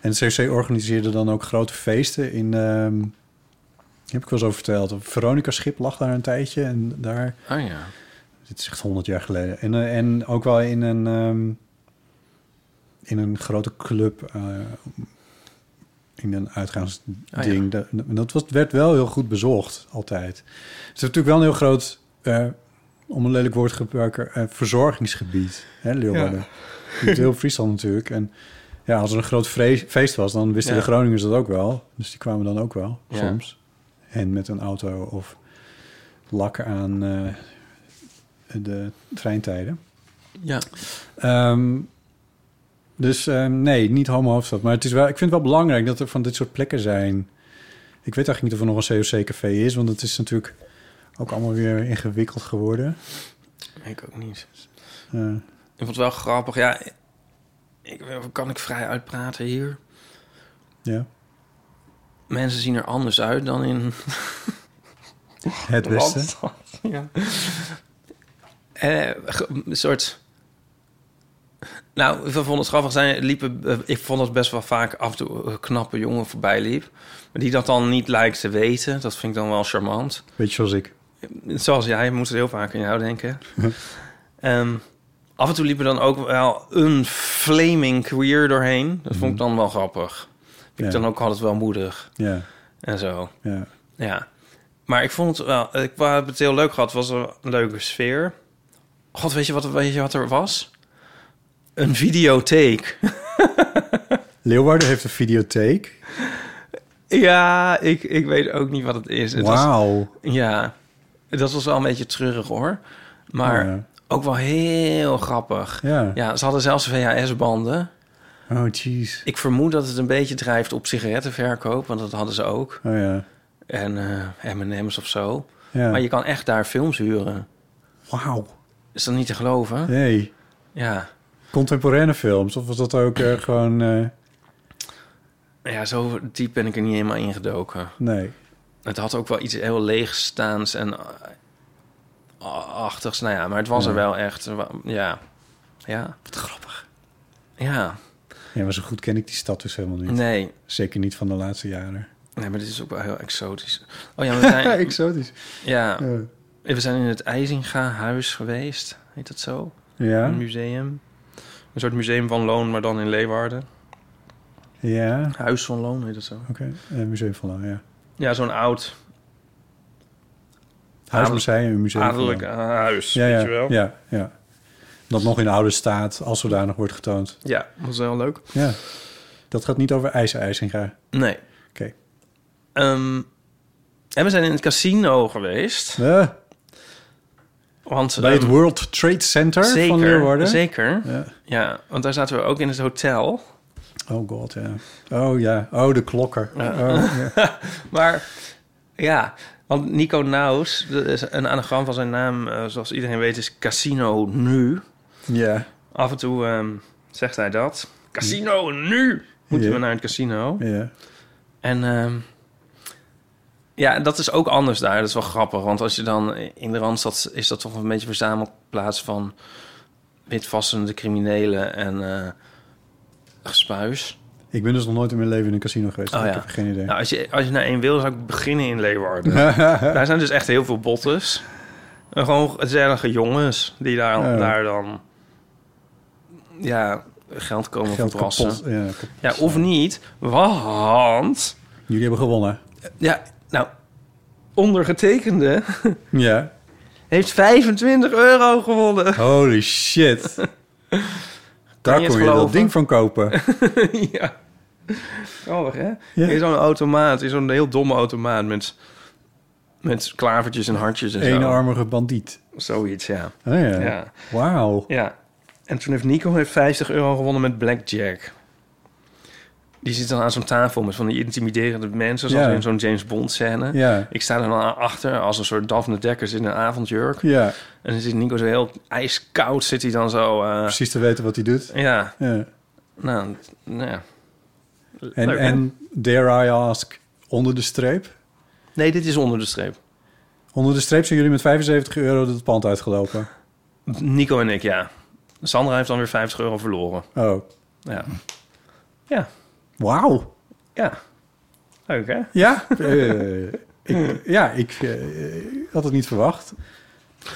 Speaker 2: En de COC organiseerde dan ook grote feesten in. ehm, heb ik wel eens over verteld. Veronica Schip lag daar een tijdje en daar
Speaker 1: Ah ja.
Speaker 2: dit is echt 100 jaar geleden. En, eh, en ook wel in een, ehm, in een grote club. eh, in een uitgaansding.
Speaker 1: Ah, ja.
Speaker 2: Dat, dat was, werd wel heel goed bezocht, altijd. Het is natuurlijk wel een heel groot, eh, om een lelijk woord te gebruiken, eh, verzorgingsgebied. Hè, Leeuwarden. Ja. Heel Friesland natuurlijk. En ja, als er een groot vre- feest was, dan wisten
Speaker 1: Ja.
Speaker 2: de Groningers dat ook wel. Dus die kwamen dan ook wel,
Speaker 1: Ja.
Speaker 2: soms. En met een auto of lakken aan eh, de treintijden.
Speaker 1: Ja.
Speaker 2: Ehm, dus ehm, nee, niet homo hoofdstad. Maar het is wel, ik vind het wel belangrijk dat er van dit soort plekken zijn. Ik weet eigenlijk niet of er nog een COC-café is, want het is natuurlijk ook allemaal weer ingewikkeld geworden.
Speaker 1: Ik ook niet.
Speaker 2: Eh,
Speaker 1: Ik vond het wel grappig. Ja, ik, kan ik vrij uitpraten hier?
Speaker 2: ja.
Speaker 1: Mensen zien er anders uit dan in
Speaker 2: Het
Speaker 1: de
Speaker 2: beste.
Speaker 1: landstad. Ja. Eh, ge- een soort... Nou, ik vond het grappig zijn. Liepen, eh, ik vond dat best wel vaak af en toe een knappe jongen voorbij liep. Maar die dat dan niet lijkt te weten. Dat vind ik dan wel charmant.
Speaker 2: Beetje zoals ik.
Speaker 1: zoals jij, moest er heel vaak aan jou denken. Ehm, af en toe liep er dan ook wel een flaming queer doorheen. Dat vond ik dan wel grappig. Vind ik
Speaker 2: Mhm. Ja.
Speaker 1: dan ook altijd wel moedig
Speaker 2: Ja,
Speaker 1: en zo.
Speaker 2: ja.
Speaker 1: Ja. Maar ik vond het wel... Ik we hebben het heel leuk gehad. Het was een leuke sfeer. God, weet je wat, weet je wat er was? Een videotheek.
Speaker 2: Leeuwarden heeft een videotheek.
Speaker 1: ja, ik, ik weet ook niet wat het is. Het was,
Speaker 2: Wauw.
Speaker 1: ja, dat was wel een beetje treurig hoor. Maar
Speaker 2: Ja.
Speaker 1: ook wel heel grappig.
Speaker 2: Ja.
Speaker 1: Ja, ze hadden zelfs VHS-banden.
Speaker 2: Oh, jeez.
Speaker 1: Ik vermoed dat het een beetje drijft op sigarettenverkoop, want dat hadden ze ook.
Speaker 2: Oh ja.
Speaker 1: En eh, M&M's of zo.
Speaker 2: ja.
Speaker 1: Maar je kan echt daar films huren.
Speaker 2: Wauw.
Speaker 1: Is dat niet te geloven?
Speaker 2: Hey.
Speaker 1: Ja.
Speaker 2: Contemporaine films. Of was dat ook eh, gewoon... eh,
Speaker 1: Ja, zo diep ben ik er niet helemaal ingedoken.
Speaker 2: nee.
Speaker 1: Het had ook wel iets heel leegstaans en eh, achtigs. Nou ja, maar het was er wel echt. eh, wa- Ja. Ja. Wat grappig. Ja.
Speaker 2: Ja, maar zo goed ken ik die stad dus helemaal niet.
Speaker 1: Nee.
Speaker 2: Zeker niet van de laatste jaren.
Speaker 1: Nee, maar dit is ook wel heel exotisch. Oh ja, we zijn,
Speaker 2: Exotisch.
Speaker 1: ja,
Speaker 2: Ja.
Speaker 1: Eh, we zijn in het IJzinga-huis geweest. Heet dat zo?
Speaker 2: Ja.
Speaker 1: Een museum. Een soort museum van Loon, maar dan in Leeuwarden.
Speaker 2: Ja.
Speaker 1: Huis van Loon heet dat zo.
Speaker 2: Oké. Eh, museum van Loon, ja.
Speaker 1: Ja, zo'n oud
Speaker 2: Huis
Speaker 1: Adel-
Speaker 2: om zij een museum van Loon.
Speaker 1: adellijk eh, huis,
Speaker 2: Ja,
Speaker 1: weet
Speaker 2: ja,
Speaker 1: je wel?
Speaker 2: ja, ja. Dat nog in oude staat, als zodanig wordt getoond.
Speaker 1: Ja, was wel leuk.
Speaker 2: Ja. Dat gaat niet over ijzer-ijzinga. Oké.
Speaker 1: Nee. Ehm, en we zijn in het casino geweest.
Speaker 2: Eh,
Speaker 1: Want,
Speaker 2: bij het
Speaker 1: ehm,
Speaker 2: World Trade Center van Leeuwarden.
Speaker 1: Zeker,
Speaker 2: Ja.
Speaker 1: ja. Want daar zaten we ook in het hotel.
Speaker 2: Oh god, ja. Oh ja. Oh, de klokker. Oh, ja.
Speaker 1: Maar ja, want Nico Naus, dat is een anagram van zijn naam, eh, zoals iedereen weet, is Casino Nu.
Speaker 2: ja.
Speaker 1: Af en toe ehm, zegt hij dat. Casino Nu! Moeten
Speaker 2: Ja.
Speaker 1: we naar het casino.
Speaker 2: Ja.
Speaker 1: En ehm, ja, dat is ook anders daar. Dat is wel grappig. Want als je dan in de Randstad is dat toch een beetje een verzamelplaats van witvassende criminelen en eh, gespuis.
Speaker 2: Ik ben dus nog nooit in mijn leven in een casino geweest. dus
Speaker 1: Oh,
Speaker 2: ik
Speaker 1: ja.
Speaker 2: heb geen idee.
Speaker 1: Nou, als je, als je naar één wil, zou ik beginnen in Leeuwarden. daar zijn dus echt heel veel bottes. En gewoon gezellige jongens die daar,
Speaker 2: Ja.
Speaker 1: daar dan ja, geld komen
Speaker 2: Geld
Speaker 1: verbrassen.
Speaker 2: kapot. Ja, kapot.
Speaker 1: Ja, of niet, want...
Speaker 2: Jullie hebben gewonnen.
Speaker 1: Ja, nou, ondergetekende
Speaker 2: Ja.
Speaker 1: heeft 25 euro gewonnen.
Speaker 2: Holy shit. Daar
Speaker 1: je het
Speaker 2: kon je dat
Speaker 1: geloven?
Speaker 2: ding van kopen.
Speaker 1: ja. Grappig, hè?
Speaker 2: Ja.
Speaker 1: In zo'n automaat, in zo'n heel domme automaat met, met klavertjes en hartjes en zo.
Speaker 2: Eenarmige bandiet.
Speaker 1: Zoiets, ja.
Speaker 2: Oh, ja.
Speaker 1: Ja.
Speaker 2: Wauw.
Speaker 1: ja. En toen heeft Nico heeft 50 euro gewonnen met Blackjack. Die zit dan aan zo'n tafel met van die intimiderende mensen, zoals
Speaker 2: Ja.
Speaker 1: in zo'n James Bond scène.
Speaker 2: Ja.
Speaker 1: Ik sta er dan achter als een soort Daphne Dekkers in een avondjurk.
Speaker 2: Ja.
Speaker 1: En dan zit Nico zo heel ijskoud, zit hij dan zo... eh,
Speaker 2: Precies te weten wat hij doet.
Speaker 1: ja,
Speaker 2: Ja.
Speaker 1: nou, nou ja.
Speaker 2: En,
Speaker 1: Leuk, hè?
Speaker 2: en dare I ask, onder de streep?
Speaker 1: Nee, dit is onder de streep.
Speaker 2: Onder de streep zijn jullie met 75 euro het pand uitgelopen.
Speaker 1: Nico en ik, ja. Sandra heeft dan weer 50 euro verloren.
Speaker 2: Oh,
Speaker 1: Ja. Ja.
Speaker 2: wauw.
Speaker 1: Ja. Leuk, hè?
Speaker 2: Ja, eh, ik, ja, ik eh, had het niet verwacht.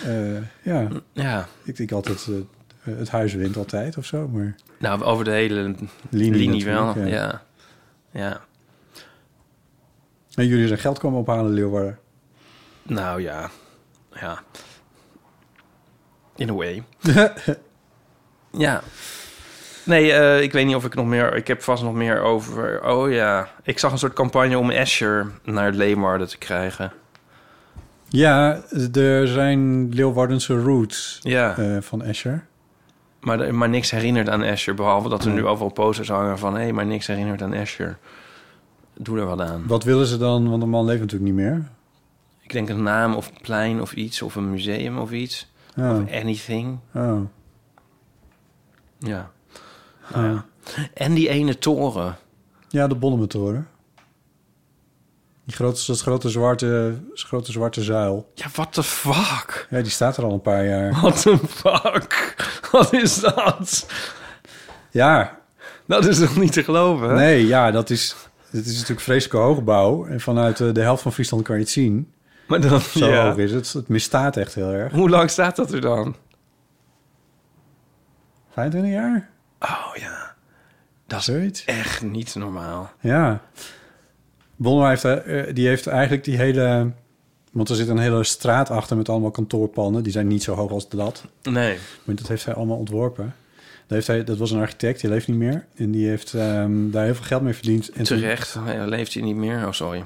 Speaker 2: Eh, ja,
Speaker 1: Ja.
Speaker 2: ik denk altijd, eh, het huis wint altijd of zo, maar...
Speaker 1: Nou, over de hele
Speaker 2: Linie
Speaker 1: linie, wel. Ja.
Speaker 2: natuurlijk, ja.
Speaker 1: ja.
Speaker 2: En jullie zijn geld komen ophalen, in Leeuwarden.
Speaker 1: Nou ja. Ja. In a way. ja. Nee, eh, ik weet niet of ik nog meer... Ik heb vast nog meer over... Oh ja. Ik zag een soort campagne om Asher naar Leeuwarden te krijgen.
Speaker 2: Ja, er zijn Leeuwardense roots
Speaker 1: Ja.
Speaker 2: eh, van Escher.
Speaker 1: Maar, de- maar niks herinnert aan Asher. Behalve dat er nu overal posters hangen van... hé, hey, maar niks herinnert aan Asher. Doe er wat aan.
Speaker 2: Wat willen ze dan? Want de man leeft natuurlijk niet meer.
Speaker 1: Ik denk een naam of plein of iets. Of een museum of iets.
Speaker 2: Oh,
Speaker 1: Anything.
Speaker 2: oh.
Speaker 1: Ja. Nou ja. En die ene toren.
Speaker 2: Ja, de Bonnementoren. Die grote, dat grote zwarte, grote zwarte zuil.
Speaker 1: Ja, what the fuck?
Speaker 2: Ja, die staat er al een paar jaar.
Speaker 1: What the fuck? Wat is dat?
Speaker 2: Ja,
Speaker 1: Dat is toch niet te geloven? hè?
Speaker 2: nee, ja, dat is... Het is natuurlijk vreselijke hoogbouw. En vanuit eh, de helft van Friesland kan je het zien.
Speaker 1: Maar dan,
Speaker 2: Zo
Speaker 1: ja.
Speaker 2: hoog is het. Het misstaat echt heel erg.
Speaker 1: Hoe lang staat dat er dan?
Speaker 2: 25 jaar?
Speaker 1: Oh ja, dat is
Speaker 2: Zoiets.
Speaker 1: echt niet normaal.
Speaker 2: Ja. Bonner heeft, eh, die heeft eigenlijk die hele... Want er zit een hele straat achter met allemaal kantoorpannen. Die zijn niet zo hoog als dat.
Speaker 1: Nee.
Speaker 2: Maar dat heeft hij allemaal ontworpen. Dat, heeft hij, dat was een architect, die leeft niet meer. En die heeft ehm, daar heel veel geld mee verdiend. En toen-
Speaker 1: Terecht, Hij leeft hij niet meer. Oh, sorry.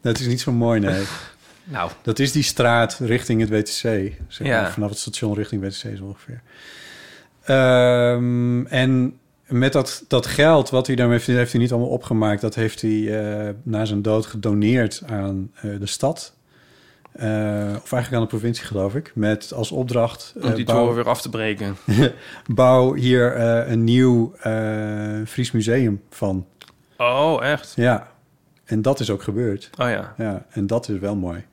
Speaker 2: Dat is niet zo mooi, nee.
Speaker 1: Nou,
Speaker 2: Dat is die straat richting het WTC. Zeg
Speaker 1: Ja.
Speaker 2: maar, vanaf het station richting WTC is ongeveer. Ehm, en met dat, dat geld wat hij daarmee heeft, heeft hij niet allemaal opgemaakt. Dat heeft hij eh, na zijn dood gedoneerd aan eh, de stad. Eh, of eigenlijk aan de provincie, geloof ik. Met als opdracht... eh,
Speaker 1: om die
Speaker 2: bouw,
Speaker 1: toren weer af te breken.
Speaker 2: bouw hier eh, een nieuw eh, Fries museum van.
Speaker 1: Oh, echt?
Speaker 2: Ja. En dat is ook gebeurd.
Speaker 1: Oh ja,
Speaker 2: Ja, en dat is wel mooi.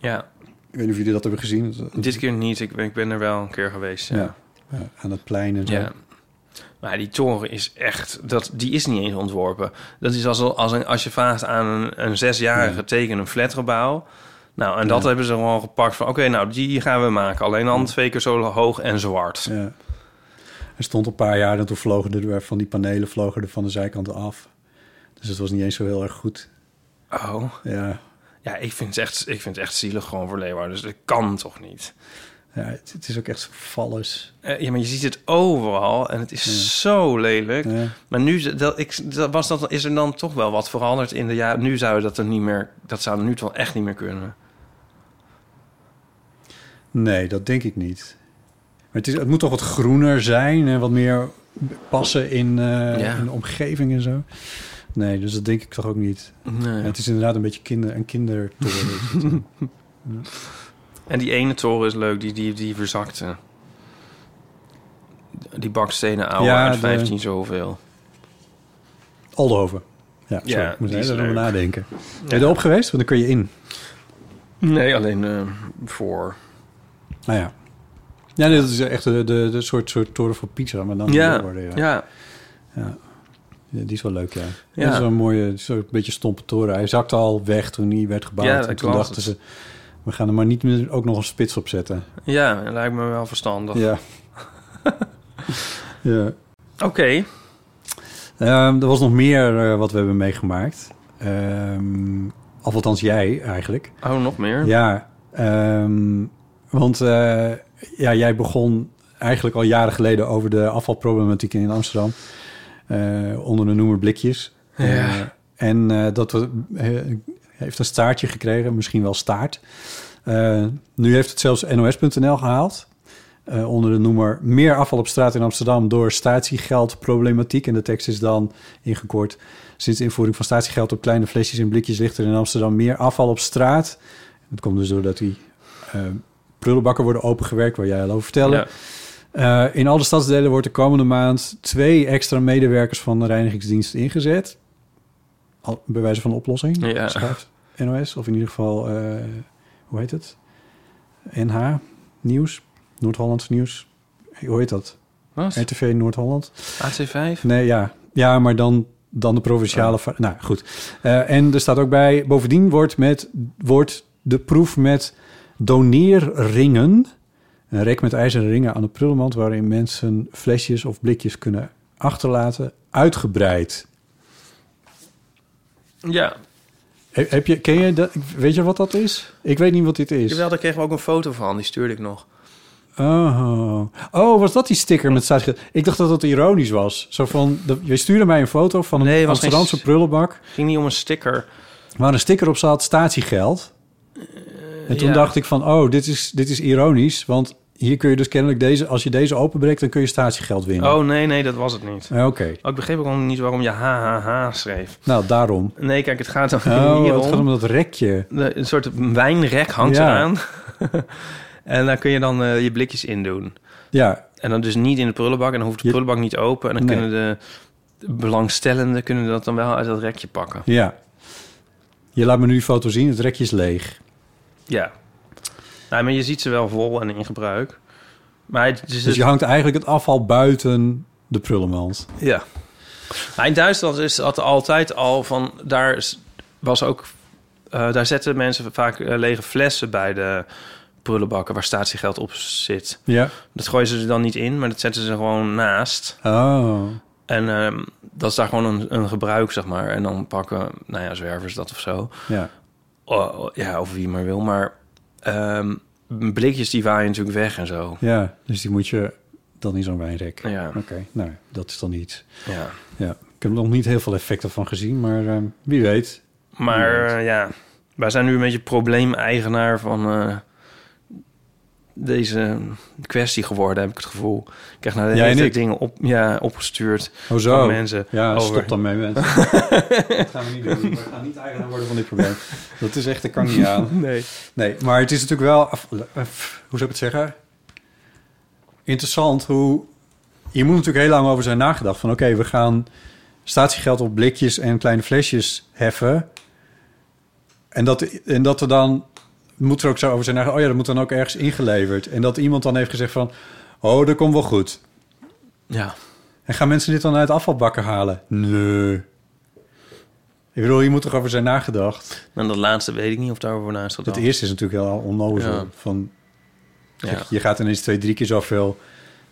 Speaker 1: ja.
Speaker 2: Ik weet niet of jullie dat hebben gezien.
Speaker 1: Dit keer niet. Ik ben, ik ben er wel een keer geweest. Ja.
Speaker 2: Ja. Ja, aan het plein en zo.
Speaker 1: Ja. Maar die toren is echt, dat, die is niet eens ontworpen. Dat is als, als, een, als je vraagt aan een, een zesjarige teken een flatgebouw. Nou, en dat hebben ze gewoon gepakt van... oké, nou, die gaan we maken. Alleen dan twee keer zo hoog en zwart.
Speaker 2: Ja. Er stond een paar jaar en toen vlogen er van die panelen vlogen er van de zijkanten af. Dus het was niet eens zo heel erg goed.
Speaker 1: Oh.
Speaker 2: Ja,
Speaker 1: Ja, ik vind, het echt, ik vind het echt zielig gewoon voor Leeuwarden. Dus dat kan toch niet?
Speaker 2: ja het, het is ook echt zo vallers.
Speaker 1: Eh, ja, maar je ziet het overal en het is zo lelijk.
Speaker 2: Ja.
Speaker 1: Maar nu z- dat, ik, dat was dat, is er dan toch wel wat veranderd in de jaar. Nu zou dat er niet meer, dat zou nu toch echt niet meer kunnen.
Speaker 2: Nee, dat denk ik niet. Maar het, is, het moet toch wat groener zijn en wat meer passen in, eh,
Speaker 1: Ja.
Speaker 2: in de omgeving en zo. Nee, dus dat denk ik toch ook niet.
Speaker 1: Nee.
Speaker 2: Ja, het is inderdaad een beetje kinder, een kindertoren. is het, ja.
Speaker 1: En die ene toren is leuk, die, die, die verzakte. Die bakstenen oude
Speaker 2: Ja,
Speaker 1: uit
Speaker 2: de-
Speaker 1: 15 zoveel.
Speaker 2: Aldenhoven. Ja,
Speaker 1: Ja,
Speaker 2: sorry, ik moet
Speaker 1: die
Speaker 2: er
Speaker 1: is
Speaker 2: even over
Speaker 1: leuk.
Speaker 2: nadenken. Ben je erop geweest? Want dan kun je in.
Speaker 1: Nee, alleen eh, voor...
Speaker 2: Nou ja. Ja, nee, dat is echt de, de, de soort, soort toren van Pizza, maar dan
Speaker 1: Ja,
Speaker 2: worden, ja.
Speaker 1: ja.
Speaker 2: Ja, Die is wel leuk, ja.
Speaker 1: Ja.
Speaker 2: Dat is wel een mooie, soort beetje stompe toren. Hij zakte al weg toen die werd gebouwd.
Speaker 1: Ja, dat
Speaker 2: en toen
Speaker 1: klopt.
Speaker 2: dachten ze, we gaan er maar niet meer ook nog een spits op zetten.
Speaker 1: Ja, dat lijkt me wel verstandig.
Speaker 2: Ja. ja.
Speaker 1: Oké.
Speaker 2: Ehm, er was nog meer eh, wat we hebben meegemaakt. Ehm, of althans jij eigenlijk.
Speaker 1: Oh, nog meer?
Speaker 2: Ja, ehm, want eh, ja, jij begon eigenlijk al jaren geleden over de afvalproblematiek in Amsterdam. eh, onder de noemer blikjes. Eh, en eh, dat we- eh, heeft een staartje gekregen, misschien wel staart. Eh, nu heeft het zelfs NOS.nl gehaald. eh, onder de noemer Meer afval op straat in Amsterdam door statiegeldproblematiek. En de tekst is dan ingekort. Sinds de invoering van statiegeld op kleine flesjes en blikjes ligt er in Amsterdam meer afval op straat. Dat komt dus doordat die eh, prullenbakken worden opengewerkt, waar jij al over vertelde.
Speaker 1: Ja.
Speaker 2: Eh, in alle stadsdelen wordt de komende maand twee extra medewerkers van de reinigingsdienst ingezet. Al, bij wijze van oplossing,
Speaker 1: Ja.
Speaker 2: schrijft NOS. Of in ieder geval, eh, hoe heet het? NH Nieuws, Noord-Hollands Nieuws. Hoe heet dat?
Speaker 1: Wat?
Speaker 2: RTV Noord-Holland.
Speaker 1: AC5?
Speaker 2: Nee, ja. Ja, maar dan, dan de
Speaker 1: Oh.
Speaker 2: provinciale... va- Nou, goed. Eh, en er staat ook bij... Bovendien wordt, met, wordt de proef met doneerringen... Een rek met ijzeren ringen aan de prullenmand... waarin mensen flesjes of blikjes kunnen achterlaten... uitgebreid.
Speaker 1: Ja.
Speaker 2: He- heb je, ken je dat, weet je wat dat is? Ik weet niet wat dit is.
Speaker 1: Jawel, daar kregen we ook een foto van. Die stuurde ik nog.
Speaker 2: Oh. oh, was dat die sticker met statiegeld? Ik dacht dat dat ironisch was. Zo van, de- je stuurde mij een foto van een
Speaker 1: Nee, het was geen
Speaker 2: Amsterdamse
Speaker 1: s-
Speaker 2: prullenbak...
Speaker 1: Het ging niet om een sticker.
Speaker 2: waar een sticker op staat statiegeld. en toen
Speaker 1: ja.
Speaker 2: dacht ik van, oh, dit is, dit is ironisch. Want hier kun je dus kennelijk deze... als je deze openbreekt, dan kun je statiegeld winnen.
Speaker 1: Oh, nee, nee, dat was het niet.
Speaker 2: Eh, Oké,
Speaker 1: Oh, ik begreep ook nog niet waarom je HHH schreef.
Speaker 2: nou daarom.
Speaker 1: Nee, kijk, het gaat er
Speaker 2: Oh,
Speaker 1: hier
Speaker 2: het gaat om
Speaker 1: om.
Speaker 2: dat rekje.
Speaker 1: De- Een soort wijnrek hangt
Speaker 2: Ja.
Speaker 1: eraan. en daar kun je dan eh, je blikjes in doen.
Speaker 2: Ja,
Speaker 1: En dan dus niet in de prullenbak. En dan hoeft de
Speaker 2: Je-
Speaker 1: prullenbak niet open. En dan
Speaker 2: Nee.
Speaker 1: kunnen de belangstellenden kunnen dat dan wel uit dat rekje pakken.
Speaker 2: ja. Je laat me nu die foto zien, het rekje is leeg.
Speaker 1: Ja. Nou, maar je ziet ze wel vol en in gebruik. Maar het is
Speaker 2: Dus je hangt eigenlijk het afval buiten de prullenmand.
Speaker 1: Ja. Maar in Duitsland is dat altijd al van... Daar is- was ook eh, daar zetten mensen vaak eh, lege flessen bij de prullenbakken waar statiegeld op zit.
Speaker 2: Ja.
Speaker 1: Dat gooien ze er dan niet in, maar dat zetten ze gewoon naast.
Speaker 2: Oh.
Speaker 1: En ehm, dat is daar gewoon een, een gebruik, zeg maar. En dan pakken, nou ja, zwervers dat of zo.
Speaker 2: Ja.
Speaker 1: Oh, ja, of wie maar wil. Maar ehm, blikjes die waaien natuurlijk weg en zo.
Speaker 2: Ja, dus die moet je dan in zo'n wijnrek.
Speaker 1: Ja.
Speaker 2: Oké, nou, dat is dan iets.
Speaker 1: Ja.
Speaker 2: Ja. Ik heb er nog niet heel veel effecten van gezien, maar eh, wie weet.
Speaker 1: Maar eh, ja, wij zijn nu een beetje probleemeigenaar van eh, deze kwestie geworden, heb ik het gevoel. Ik krijg nou de
Speaker 2: Jij
Speaker 1: hele
Speaker 2: en
Speaker 1: tijd
Speaker 2: ik.
Speaker 1: dingen op, ja, opgestuurd
Speaker 2: Oh zo.
Speaker 1: van mensen.
Speaker 2: Ja,
Speaker 1: over.
Speaker 2: stop dan mee, mensen. dat gaan we niet doen. We gaan niet eigenaar worden van dit probleem. Dat is echt, dat kan niet aan.
Speaker 1: Nee.
Speaker 2: Nee, maar het is natuurlijk wel... af- af- hoe zou ik het zeggen? Interessant hoe... Je moet natuurlijk heel lang over zijn nagedacht. Van oké, we gaan statiegeld op blikjes en kleine flesjes heffen. En dat, en dat er dan... Moet er ook zo over zijn nagedacht. Oh ja, dat moet dan ook ergens ingeleverd. En dat iemand dan heeft gezegd van... Oh, dat komt wel goed.
Speaker 1: Ja.
Speaker 2: En gaan mensen dit dan uit afvalbakken halen? Nee. Ik bedoel, je moet toch over zijn nagedacht.
Speaker 1: En dat laatste weet ik niet of daarover na is gedacht.
Speaker 2: Het eerste is natuurlijk heel onnozel.
Speaker 1: Ja.
Speaker 2: Van,
Speaker 1: Ja.
Speaker 2: Je gaat ineens twee, drie keer zoveel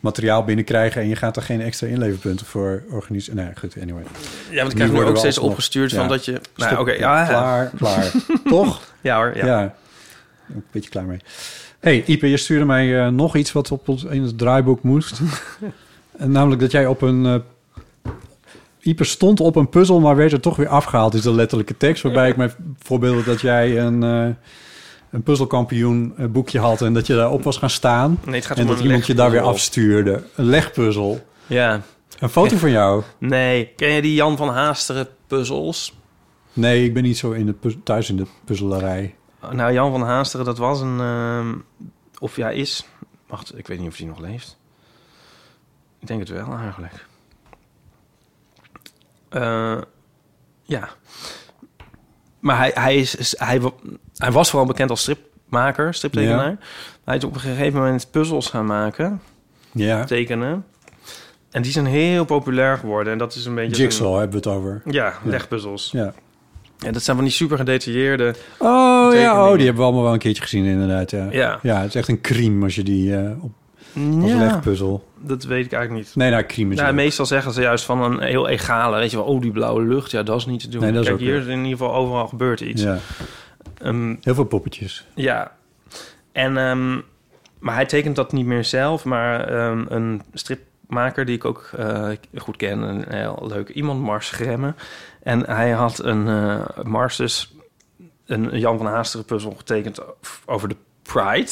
Speaker 2: materiaal binnenkrijgen... en je gaat er geen extra inleverpunten voor organiseren. Nee, goed, anyway.
Speaker 1: ja, want ik
Speaker 2: Nu
Speaker 1: krijg nu
Speaker 2: worden
Speaker 1: ook
Speaker 2: we
Speaker 1: steeds
Speaker 2: alsnog-
Speaker 1: opgestuurd
Speaker 2: ja.
Speaker 1: van dat je... Nou,
Speaker 2: Stop,
Speaker 1: oké, ja, ja.
Speaker 2: Klaar, klaar. Toch?
Speaker 1: ja hoor, ja.
Speaker 2: Ja. Een beetje klaar mee. hey, Ipe, je stuurde mij eh, nog iets wat op ons, in het draaiboek moest. en namelijk dat jij op een... eh Ipe stond op een puzzel, maar werd er toch weer afgehaald. Is de letterlijke tekst, waarbij ik mij voorbeeld dat jij een... eh, een puzzelkampioen eh, boekje had en dat je daarop was gaan staan.
Speaker 1: Nee, het gaat
Speaker 2: en
Speaker 1: om
Speaker 2: dat
Speaker 1: een
Speaker 2: iemand je daar weer
Speaker 1: legpuzzel.
Speaker 2: afstuurde. Een legpuzzel.
Speaker 1: Ja.
Speaker 2: Een foto van jou.
Speaker 1: Nee, ken je die Jan van Haasteren puzzels?
Speaker 2: Nee, ik ben niet zo in de puz- thuis in de puzzelarij.
Speaker 1: Nou, Jan van Haasteren, dat was een... ehm, of ja, is... Wacht, ik weet niet of hij nog leeft. Ik denk het wel, eigenlijk. Eh, ja. Maar hij, hij, is- is, hij, wa- hij was vooral bekend als stripmaker, striptekenaar.
Speaker 2: Ja.
Speaker 1: Hij is op een gegeven moment puzzels gaan maken,
Speaker 2: Ja.
Speaker 1: tekenen. En die zijn heel populair geworden. En dat is een beetje...
Speaker 2: Jigsaw hebben we het over.
Speaker 1: zo'n- ja, legpuzzels.
Speaker 2: Ja.
Speaker 1: Ja, dat zijn van die super gedetailleerde...
Speaker 2: Oh ja, oh,
Speaker 1: tekeningen.
Speaker 2: die hebben we allemaal wel een keertje gezien inderdaad. Ja,
Speaker 1: Ja.
Speaker 2: het is echt een crime als je die eh, op, als legpuzzel...
Speaker 1: dat weet ik eigenlijk niet.
Speaker 2: Nee, nou, crime is
Speaker 1: Nou,
Speaker 2: leuk.
Speaker 1: meestal zeggen ze juist van een heel egale, weet je wel, oh die blauwe lucht, ja dat is niet te doen.
Speaker 2: Nee, dat is
Speaker 1: Kijk,
Speaker 2: ook
Speaker 1: hier
Speaker 2: weer.
Speaker 1: is in ieder geval overal gebeurt iets. Ehm, Ja.
Speaker 2: Ja, heel veel poppetjes.
Speaker 1: ja. En, ehm, maar hij tekent dat niet meer zelf, maar ehm, een stripmaker die ik ook eh, goed ken, een heel leuk iemand, Mars Gremme. En hij had een eh, Mars dus een Jan van Haasteren puzzel getekend over de Pride.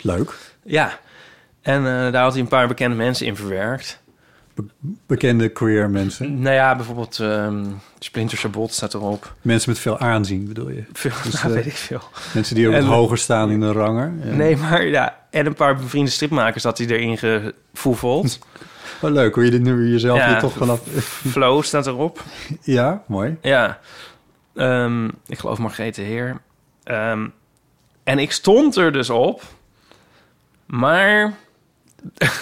Speaker 2: Leuk.
Speaker 1: Ja. En eh, daar had hij een paar bekende mensen in verwerkt.
Speaker 2: Bekende queer mensen.
Speaker 1: Nou ja, bijvoorbeeld ehm Splinter Sabot staat erop.
Speaker 2: Mensen met veel aanzien bedoel je.
Speaker 1: Veel,
Speaker 2: Dus,
Speaker 1: nou,
Speaker 2: eh,
Speaker 1: weet ik veel.
Speaker 2: Mensen die ook
Speaker 1: En-
Speaker 2: wat hoger staan in de rangen. Ja.
Speaker 1: Nee, maar ja. En een paar bevriende stripmakers had hij erin gevoeveld.
Speaker 2: Oh, leuk hoe je dit nu jezelf
Speaker 1: Ja.
Speaker 2: hier toch vanaf...
Speaker 1: Flow staat erop.
Speaker 2: ja, mooi.
Speaker 1: Ja. Ehm, ik geloof Margrethe Heer. Ehm, en ik stond er dus op. Maar...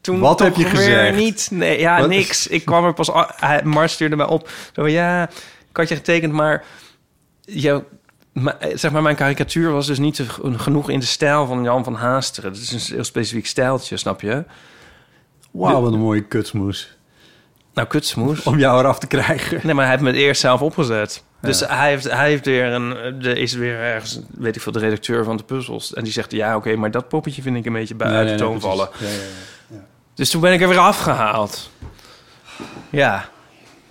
Speaker 1: Toen
Speaker 2: Wat heb
Speaker 1: toch
Speaker 2: je
Speaker 1: weer
Speaker 2: gezegd?
Speaker 1: Niet, nee, ja,
Speaker 2: Wat?
Speaker 1: niks. Ik kwam er pas... a- Hij, Mars stuurde mij op. Zo van, ja, ik had je getekend, maar... Jouw, maar, eh, zeg maar, mijn karikatuur was dus niet te- genoeg in de stijl van Jan van Haasteren. Het is een heel specifiek stijltje, snap je?
Speaker 2: Wauw, wat een mooie kutsmoes.
Speaker 1: Nou, kutsmoes.
Speaker 2: Om jou eraf te krijgen.
Speaker 1: Nee, maar hij heeft me het eerst zelf opgezet. Dus hij, heeft, hij heeft weer een, de, is weer ergens, weet ik veel, de redacteur van de puzzels. En die zegt, ja, oké, maar dat poppetje vind ik een beetje bij, uit de toon
Speaker 2: precies.
Speaker 1: vallen.
Speaker 2: Ja, ja, ja.
Speaker 1: Dus toen ben ik er weer afgehaald. Ja.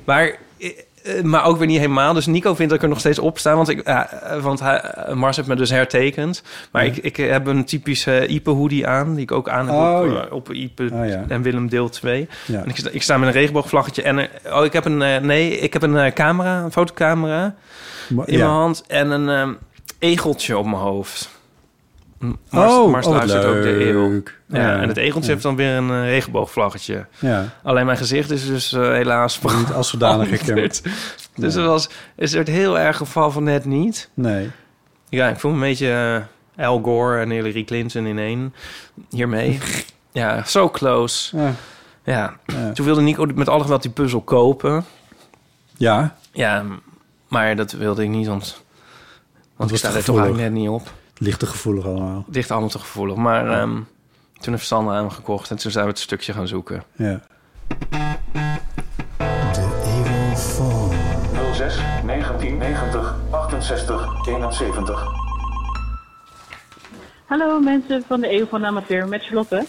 Speaker 1: Maar, eh, eh, maar ook weer niet helemaal. Dus Nico vindt dat ik er nog steeds op sta. Want, ik, eh, eh, want hij, eh, Mars heeft me dus hertekend. Maar ik, ik heb een typische Ipe-hoodie aan. Die ik ook aan heb
Speaker 2: Oh,
Speaker 1: op,
Speaker 2: ja.
Speaker 1: eh, op Ipe
Speaker 2: Ah, ja.
Speaker 1: en Willem deel 2.
Speaker 2: Ja.
Speaker 1: En ik, sta- ik sta met een regenboogvlaggetje. En eh, oh, ik heb een, eh, nee, ik heb een eh, camera, een fotocamera
Speaker 2: Maar-
Speaker 1: in
Speaker 2: ja.
Speaker 1: mijn hand. En een ehm, egeltje op mijn hoofd. M-
Speaker 2: Oh,
Speaker 1: Mars
Speaker 2: oh, wat
Speaker 1: luistert ook de eeuw.
Speaker 2: leuk.
Speaker 1: Ja,
Speaker 2: Ja.
Speaker 1: En het e- egeltje heeft dan weer een eh, regenboogvlaggetje.
Speaker 2: Ja,
Speaker 1: Alleen mijn gezicht is dus eh, helaas
Speaker 2: niet als zodanig
Speaker 1: Oh,
Speaker 2: herkend.
Speaker 1: Dus het was een soort heel erg geval van net niet.
Speaker 2: Nee.
Speaker 1: Ja, ik voel me een beetje eh, Al Gore en Hillary Clinton in één hiermee. ja, zo close.
Speaker 2: Ja.
Speaker 1: Ja.
Speaker 2: Ja.
Speaker 1: Toen wilde Nico met alle geweld die puzzel kopen.
Speaker 2: Ja,
Speaker 1: Ja, m- maar dat wilde ik niet, want Want ik
Speaker 2: was
Speaker 1: sta
Speaker 2: te
Speaker 1: er toch eigenlijk
Speaker 2: gevoelig.
Speaker 1: net niet op.
Speaker 2: Het ligt te gevoelig allemaal.
Speaker 1: Dicht allemaal te gevoelig. Maar ehm, toen heeft Sanne hem gekocht en toen zijn we het stukje gaan zoeken.
Speaker 2: Ja.
Speaker 3: 06 1990 68 71.
Speaker 4: Hallo mensen van de Eeuw van de Amateur met Charlotte.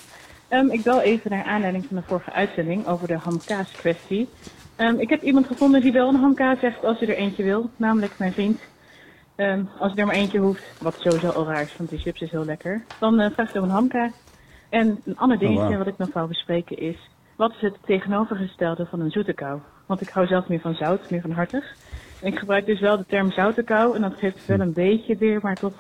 Speaker 4: Ehm, ik bel even naar aanleiding van de vorige uitzending over de hamkaas kwestie. Ehm, ik heb iemand gevonden die wel een hamkaas zegt als hij er eentje wil, namelijk mijn vriend. Ehm, als hij er maar eentje hoeft, wat sowieso al raar is, want die chips is heel lekker, dan eh, vraagt hij om een hamkaas. En een ander dingetje
Speaker 5: wauw.
Speaker 4: wat ik nog wou bespreken is, wat is het tegenovergestelde van een zoete kou? Want ik hou zelf meer van zout, meer van hartig. Ik gebruik dus wel de term zoute kou en dat geeft wel een beetje weer, maar toch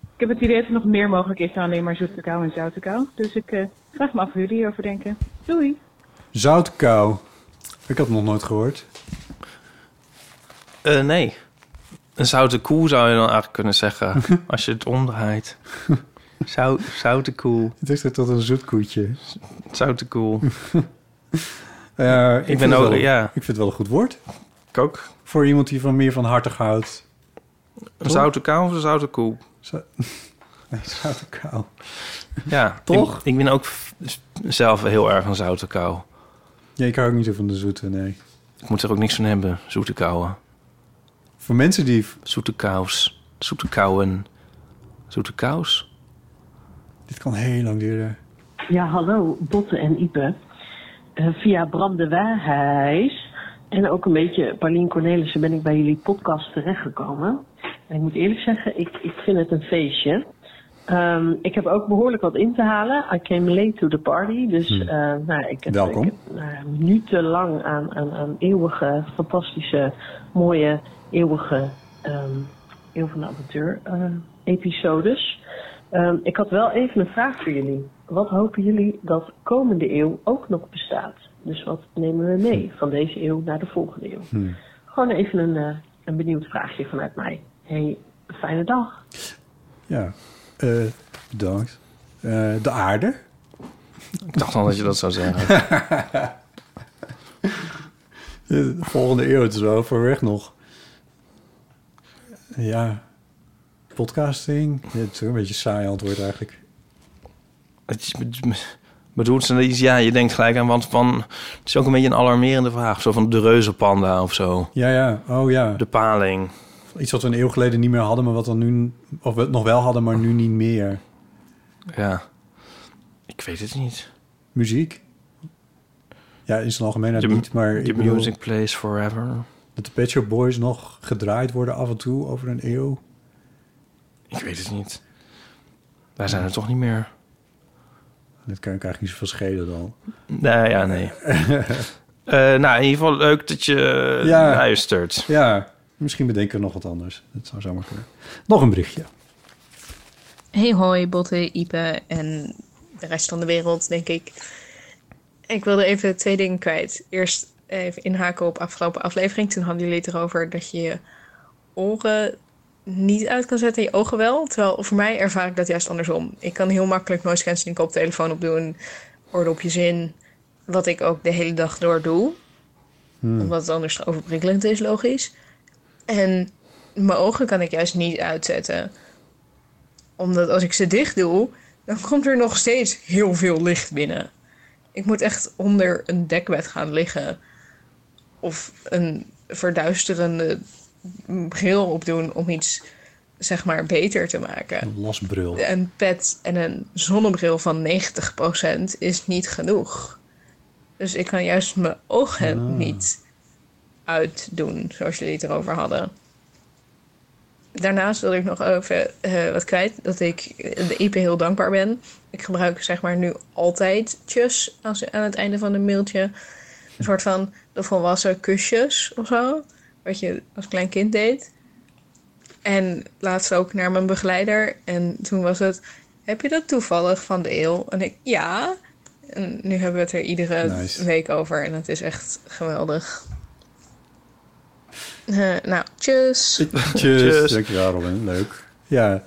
Speaker 4: ik heb het idee dat er nog meer mogelijk is dan alleen maar zoete kou en zoute kou. Dus ik eh, vraag me af hoe jullie hierover denken. Doei!
Speaker 2: Zoutkou. Ik had het nog nooit gehoord.
Speaker 1: Eh, nee. Een zoute koe zou je dan eigenlijk kunnen zeggen. als je het omdraait. Zou, zoute koe.
Speaker 2: Het is tot een zoetkoetje.
Speaker 1: Zoute koe.
Speaker 2: Eh,
Speaker 1: Ik ben
Speaker 2: vind het
Speaker 1: ook-
Speaker 2: wel-
Speaker 1: ja.
Speaker 2: Ik vind het wel een goed woord.
Speaker 1: Ik ook.
Speaker 2: Voor iemand die van meer van hartig houdt.
Speaker 1: Een zoute kou of een zoute koe?
Speaker 2: Nee, zoute kou.
Speaker 1: Ja.
Speaker 2: Toch?
Speaker 1: Ik, ik ben ook f- zelf heel erg een zoute kou.
Speaker 2: Ja, ik hou ook niet zo van de zoete, nee.
Speaker 1: Ik moet er ook niks van hebben, zoete kouwen.
Speaker 2: Voor mensen die...
Speaker 1: Zoete kous. Zoete kouwen. Zoete kous.
Speaker 2: Dit kan heel lang duren.
Speaker 6: Ja, hallo, Botte en Ipe. Eh, via Bram de Waarhuis en ook een beetje Paulien Cornelissen ben ik bij jullie podcast terechtgekomen. En ik moet eerlijk zeggen, ik, ik vind het een feestje. Ehm, ik heb ook behoorlijk wat in te halen. I came late to the party, dus eh, nou, ik heb,
Speaker 2: Welkom.
Speaker 6: ik heb, nou, minutenlang aan, aan, aan eeuwige, fantastische, mooie, eeuwige ehm Eeuw van de Amateur eh, episodes. Ehm, ik had wel even een vraag voor jullie. Wat hopen jullie dat komende eeuw ook nog bestaat? Dus wat nemen we mee van deze eeuw naar de volgende eeuw? Gewoon even een, eh, een benieuwd vraagje vanuit mij. Hey, fijne dag.
Speaker 2: Ja, Eh, bedankt. Eh, de aarde?
Speaker 1: Ik dacht al dat je dat zou zeggen.
Speaker 2: De volgende eeuw, het is wel ver weg nog. Ja, podcasting. Ja, Het is ook een beetje een saai antwoord eigenlijk.
Speaker 1: Het is- het bedoelt ze iets, ja, je denkt gelijk aan, want van, het is ook een beetje een alarmerende vraag. Zo van de reuzenpanda of zo.
Speaker 2: Ja, ja. Oh ja.
Speaker 1: De paling.
Speaker 2: Iets wat we een eeuw geleden niet meer hadden, maar wat dan nu... Of we het nog wel hadden, maar nu niet meer.
Speaker 1: Ja. Ik weet het niet.
Speaker 2: Muziek? Ja, in zijn algemeenheid
Speaker 1: De-
Speaker 2: niet, maar...
Speaker 1: de
Speaker 2: ik bedoel
Speaker 1: music plays forever.
Speaker 2: Dat de Pet Shop Boys nog gedraaid worden af en toe over een eeuw.
Speaker 1: Ik weet het niet. Wij zijn er toch niet meer.
Speaker 2: Dat kan ik eigenlijk niet zoveel schelen dan.
Speaker 1: Nou ja, nee. Eh, nou, in ieder geval leuk dat je eh,
Speaker 2: Ja.
Speaker 1: luistert.
Speaker 2: Ja, misschien bedenken we nog wat anders. Dat zou zomaar kunnen. Nog een berichtje.
Speaker 7: Hey hoi, Botte, Ipe en de rest van de wereld, denk ik. Ik wilde even twee dingen kwijt. Eerst even inhaken op afgelopen aflevering. Toen hadden jullie het erover dat je je oren niet uit kan zetten en je ogen wel. Terwijl voor mij ervaar ik dat juist andersom. Ik kan heel makkelijk noise cancelling koptelefoon opdoen, oordopjes in. Wat ik ook de hele dag door doe. Omdat het anders overprikkelend is, logisch. En mijn ogen kan ik juist niet uitzetten. Omdat als ik ze dicht doe, dan komt er nog steeds heel veel licht binnen. Ik moet echt onder een dekbed gaan liggen. Of een verduisterende bril opdoen om iets, zeg maar, beter te maken.
Speaker 2: Een lasbrul.
Speaker 7: Een pet en een zonnebril van 90% is niet genoeg. Dus ik kan juist mijn ogen
Speaker 2: Ah.
Speaker 7: niet uitdoen, zoals jullie het erover hadden. Daarnaast wil ik nog even eh, wat kwijt dat ik de IP heel dankbaar ben. Ik gebruik zeg maar nu altijd tjus als, aan het einde van een mailtje. Een soort van de volwassen kusjes of zo. Wat je als klein kind deed. En laatst ook naar mijn begeleider. En toen was het: Heb je dat toevallig van de eeuw? En ik: Ja. En nu hebben we het er iedere
Speaker 2: Nice.
Speaker 7: week over. En het is echt geweldig. Eh, nou, tjus.
Speaker 2: Tjus. Dankjewel Robin, leuk. Ja.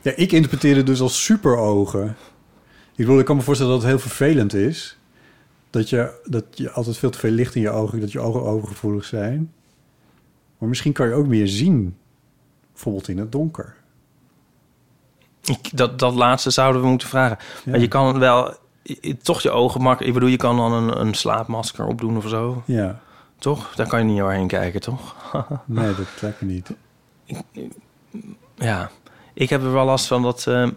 Speaker 2: ja, ik interpreteer het dus als superogen. Ik bedoel, ik kan me voorstellen dat het heel vervelend is. Dat je, dat je altijd veel te veel licht in je ogen, dat je ogen overgevoelig zijn. Maar misschien kan je ook meer zien. Bijvoorbeeld in het donker.
Speaker 1: Ik- dat, dat laatste zouden we moeten vragen. Maar je kan wel i- toch je ogen makkelijk... Ik bedoel, je kan dan een, een slaapmasker opdoen of zo.
Speaker 2: Ja.
Speaker 1: Toch? Daar kan je niet doorheen kijken, toch?
Speaker 2: Nee, dat lijkt me niet.
Speaker 1: Ja, ik heb er wel last van dat... eh,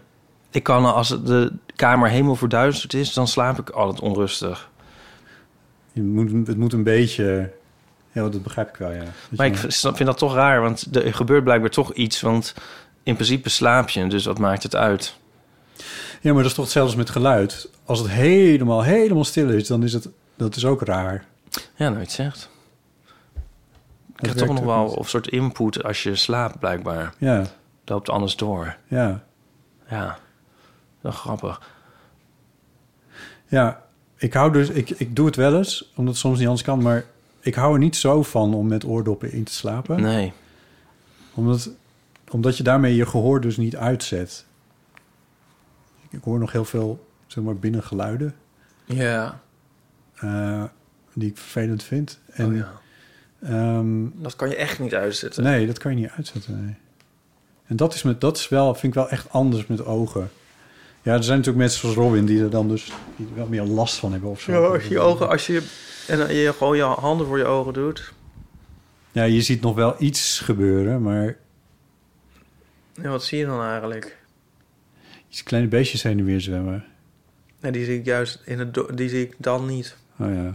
Speaker 1: ik kan als de kamer helemaal verduisterd is... dan slaap ik altijd onrustig.
Speaker 2: Je moet, het moet een beetje... Ja, dat begrijp ik wel, ja. Dat
Speaker 1: Maar
Speaker 2: je-
Speaker 1: ik snap- vind dat toch raar, want er gebeurt blijkbaar toch iets. Want in principe slaap je, dus wat maakt het uit?
Speaker 2: Ja, maar dat is toch zelfs met geluid. Als het helemaal, helemaal stil is, dan is het... Dat is ook raar.
Speaker 1: Ja, nooit zegt. Ik krijg
Speaker 2: werkt
Speaker 1: toch nog
Speaker 2: ook
Speaker 1: wel
Speaker 2: niet.
Speaker 1: een soort input als je slaapt, blijkbaar.
Speaker 2: Ja.
Speaker 1: Dat Loopt alles door.
Speaker 2: Ja.
Speaker 1: Ja, dat is grappig.
Speaker 2: Ja, ik hou dus, ik, ik doe het wel eens, omdat het soms niet anders kan, maar ik hou er niet zo van om met oordoppen in te slapen.
Speaker 1: Nee.
Speaker 2: Omdat, omdat je daarmee je gehoor dus niet uitzet. Ik hoor nog heel veel, zeg maar, binnengeluiden
Speaker 1: Ja,
Speaker 2: eh, die ik vervelend vind. En, ehm,
Speaker 1: Oh dat kan je echt niet uitzetten.
Speaker 2: Nee, dat kan je niet uitzetten. nee. En dat is, met, dat is wel, vind ik wel echt anders met ogen. Ja, er zijn natuurlijk mensen zoals Robin die er dan dus die er wel meer last van hebben of zo.
Speaker 1: Ja, als je je ogen, als je, en dan je gewoon je handen voor je ogen doet.
Speaker 2: Ja, je ziet nog wel iets gebeuren, maar
Speaker 1: Ja, wat zie je dan eigenlijk?
Speaker 2: iets kleine beestjes heen en weer zwemmen.
Speaker 1: Nee, die zie ik juist in het, do- die zie ik dan niet.
Speaker 2: Oh ja.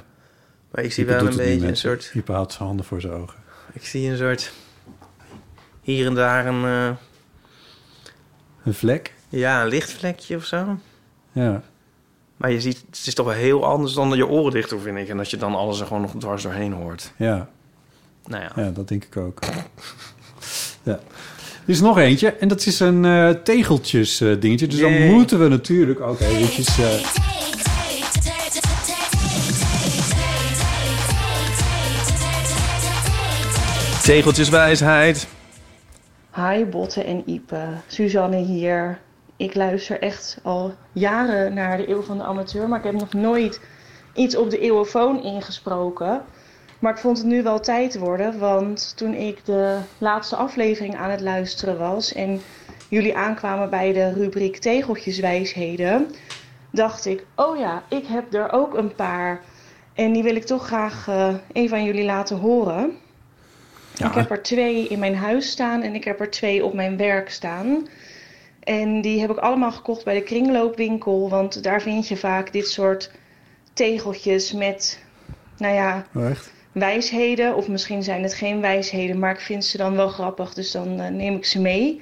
Speaker 1: Maar ik zie
Speaker 2: Ipe
Speaker 1: wel
Speaker 2: doet het niet,
Speaker 1: een beetje een
Speaker 2: mensen.
Speaker 1: soort,
Speaker 2: Ipe houdt zijn handen voor zijn ogen.
Speaker 1: ik zie een soort hier en daar een, eh,
Speaker 2: Een vlek?
Speaker 1: ja, een lichtvlekje of zo.
Speaker 2: Ja.
Speaker 1: Maar je ziet, het is toch wel heel anders dan je oren dicht doen, vind ik. En dat je dan alles er gewoon nog dwars doorheen hoort.
Speaker 2: Ja.
Speaker 1: Nou ja.
Speaker 2: Ja, dat denk ik ook. ja. Er is nog eentje en dat is een eh, tegeltjes eh, dingetje. Dus dan
Speaker 1: Yay.
Speaker 2: moeten we natuurlijk ook eventjes... eh,
Speaker 1: Tegeltjeswijsheid.
Speaker 6: Hi Botte en Ipe, Suzanne hier. Ik luister echt al jaren naar de Eeuw van de Amateur, maar ik heb nog nooit iets op de Eeuwofoon ingesproken. Maar ik vond het nu wel tijd worden, want toen ik de laatste aflevering aan het luisteren was en jullie aankwamen bij de rubriek Tegeltjeswijsheden, dacht ik, oh ja, ik heb er ook een paar. En die wil ik toch graag eh, even aan jullie laten horen. Ik heb er twee in mijn huis staan en ik heb er twee op mijn werk staan. En die heb ik allemaal gekocht bij de kringloopwinkel, want daar vind je vaak dit soort tegeltjes met, nou ja,
Speaker 2: Oh, echt?
Speaker 6: wijsheden. Of misschien zijn het geen wijsheden, maar ik vind ze dan wel grappig, dus dan eh, neem ik ze mee.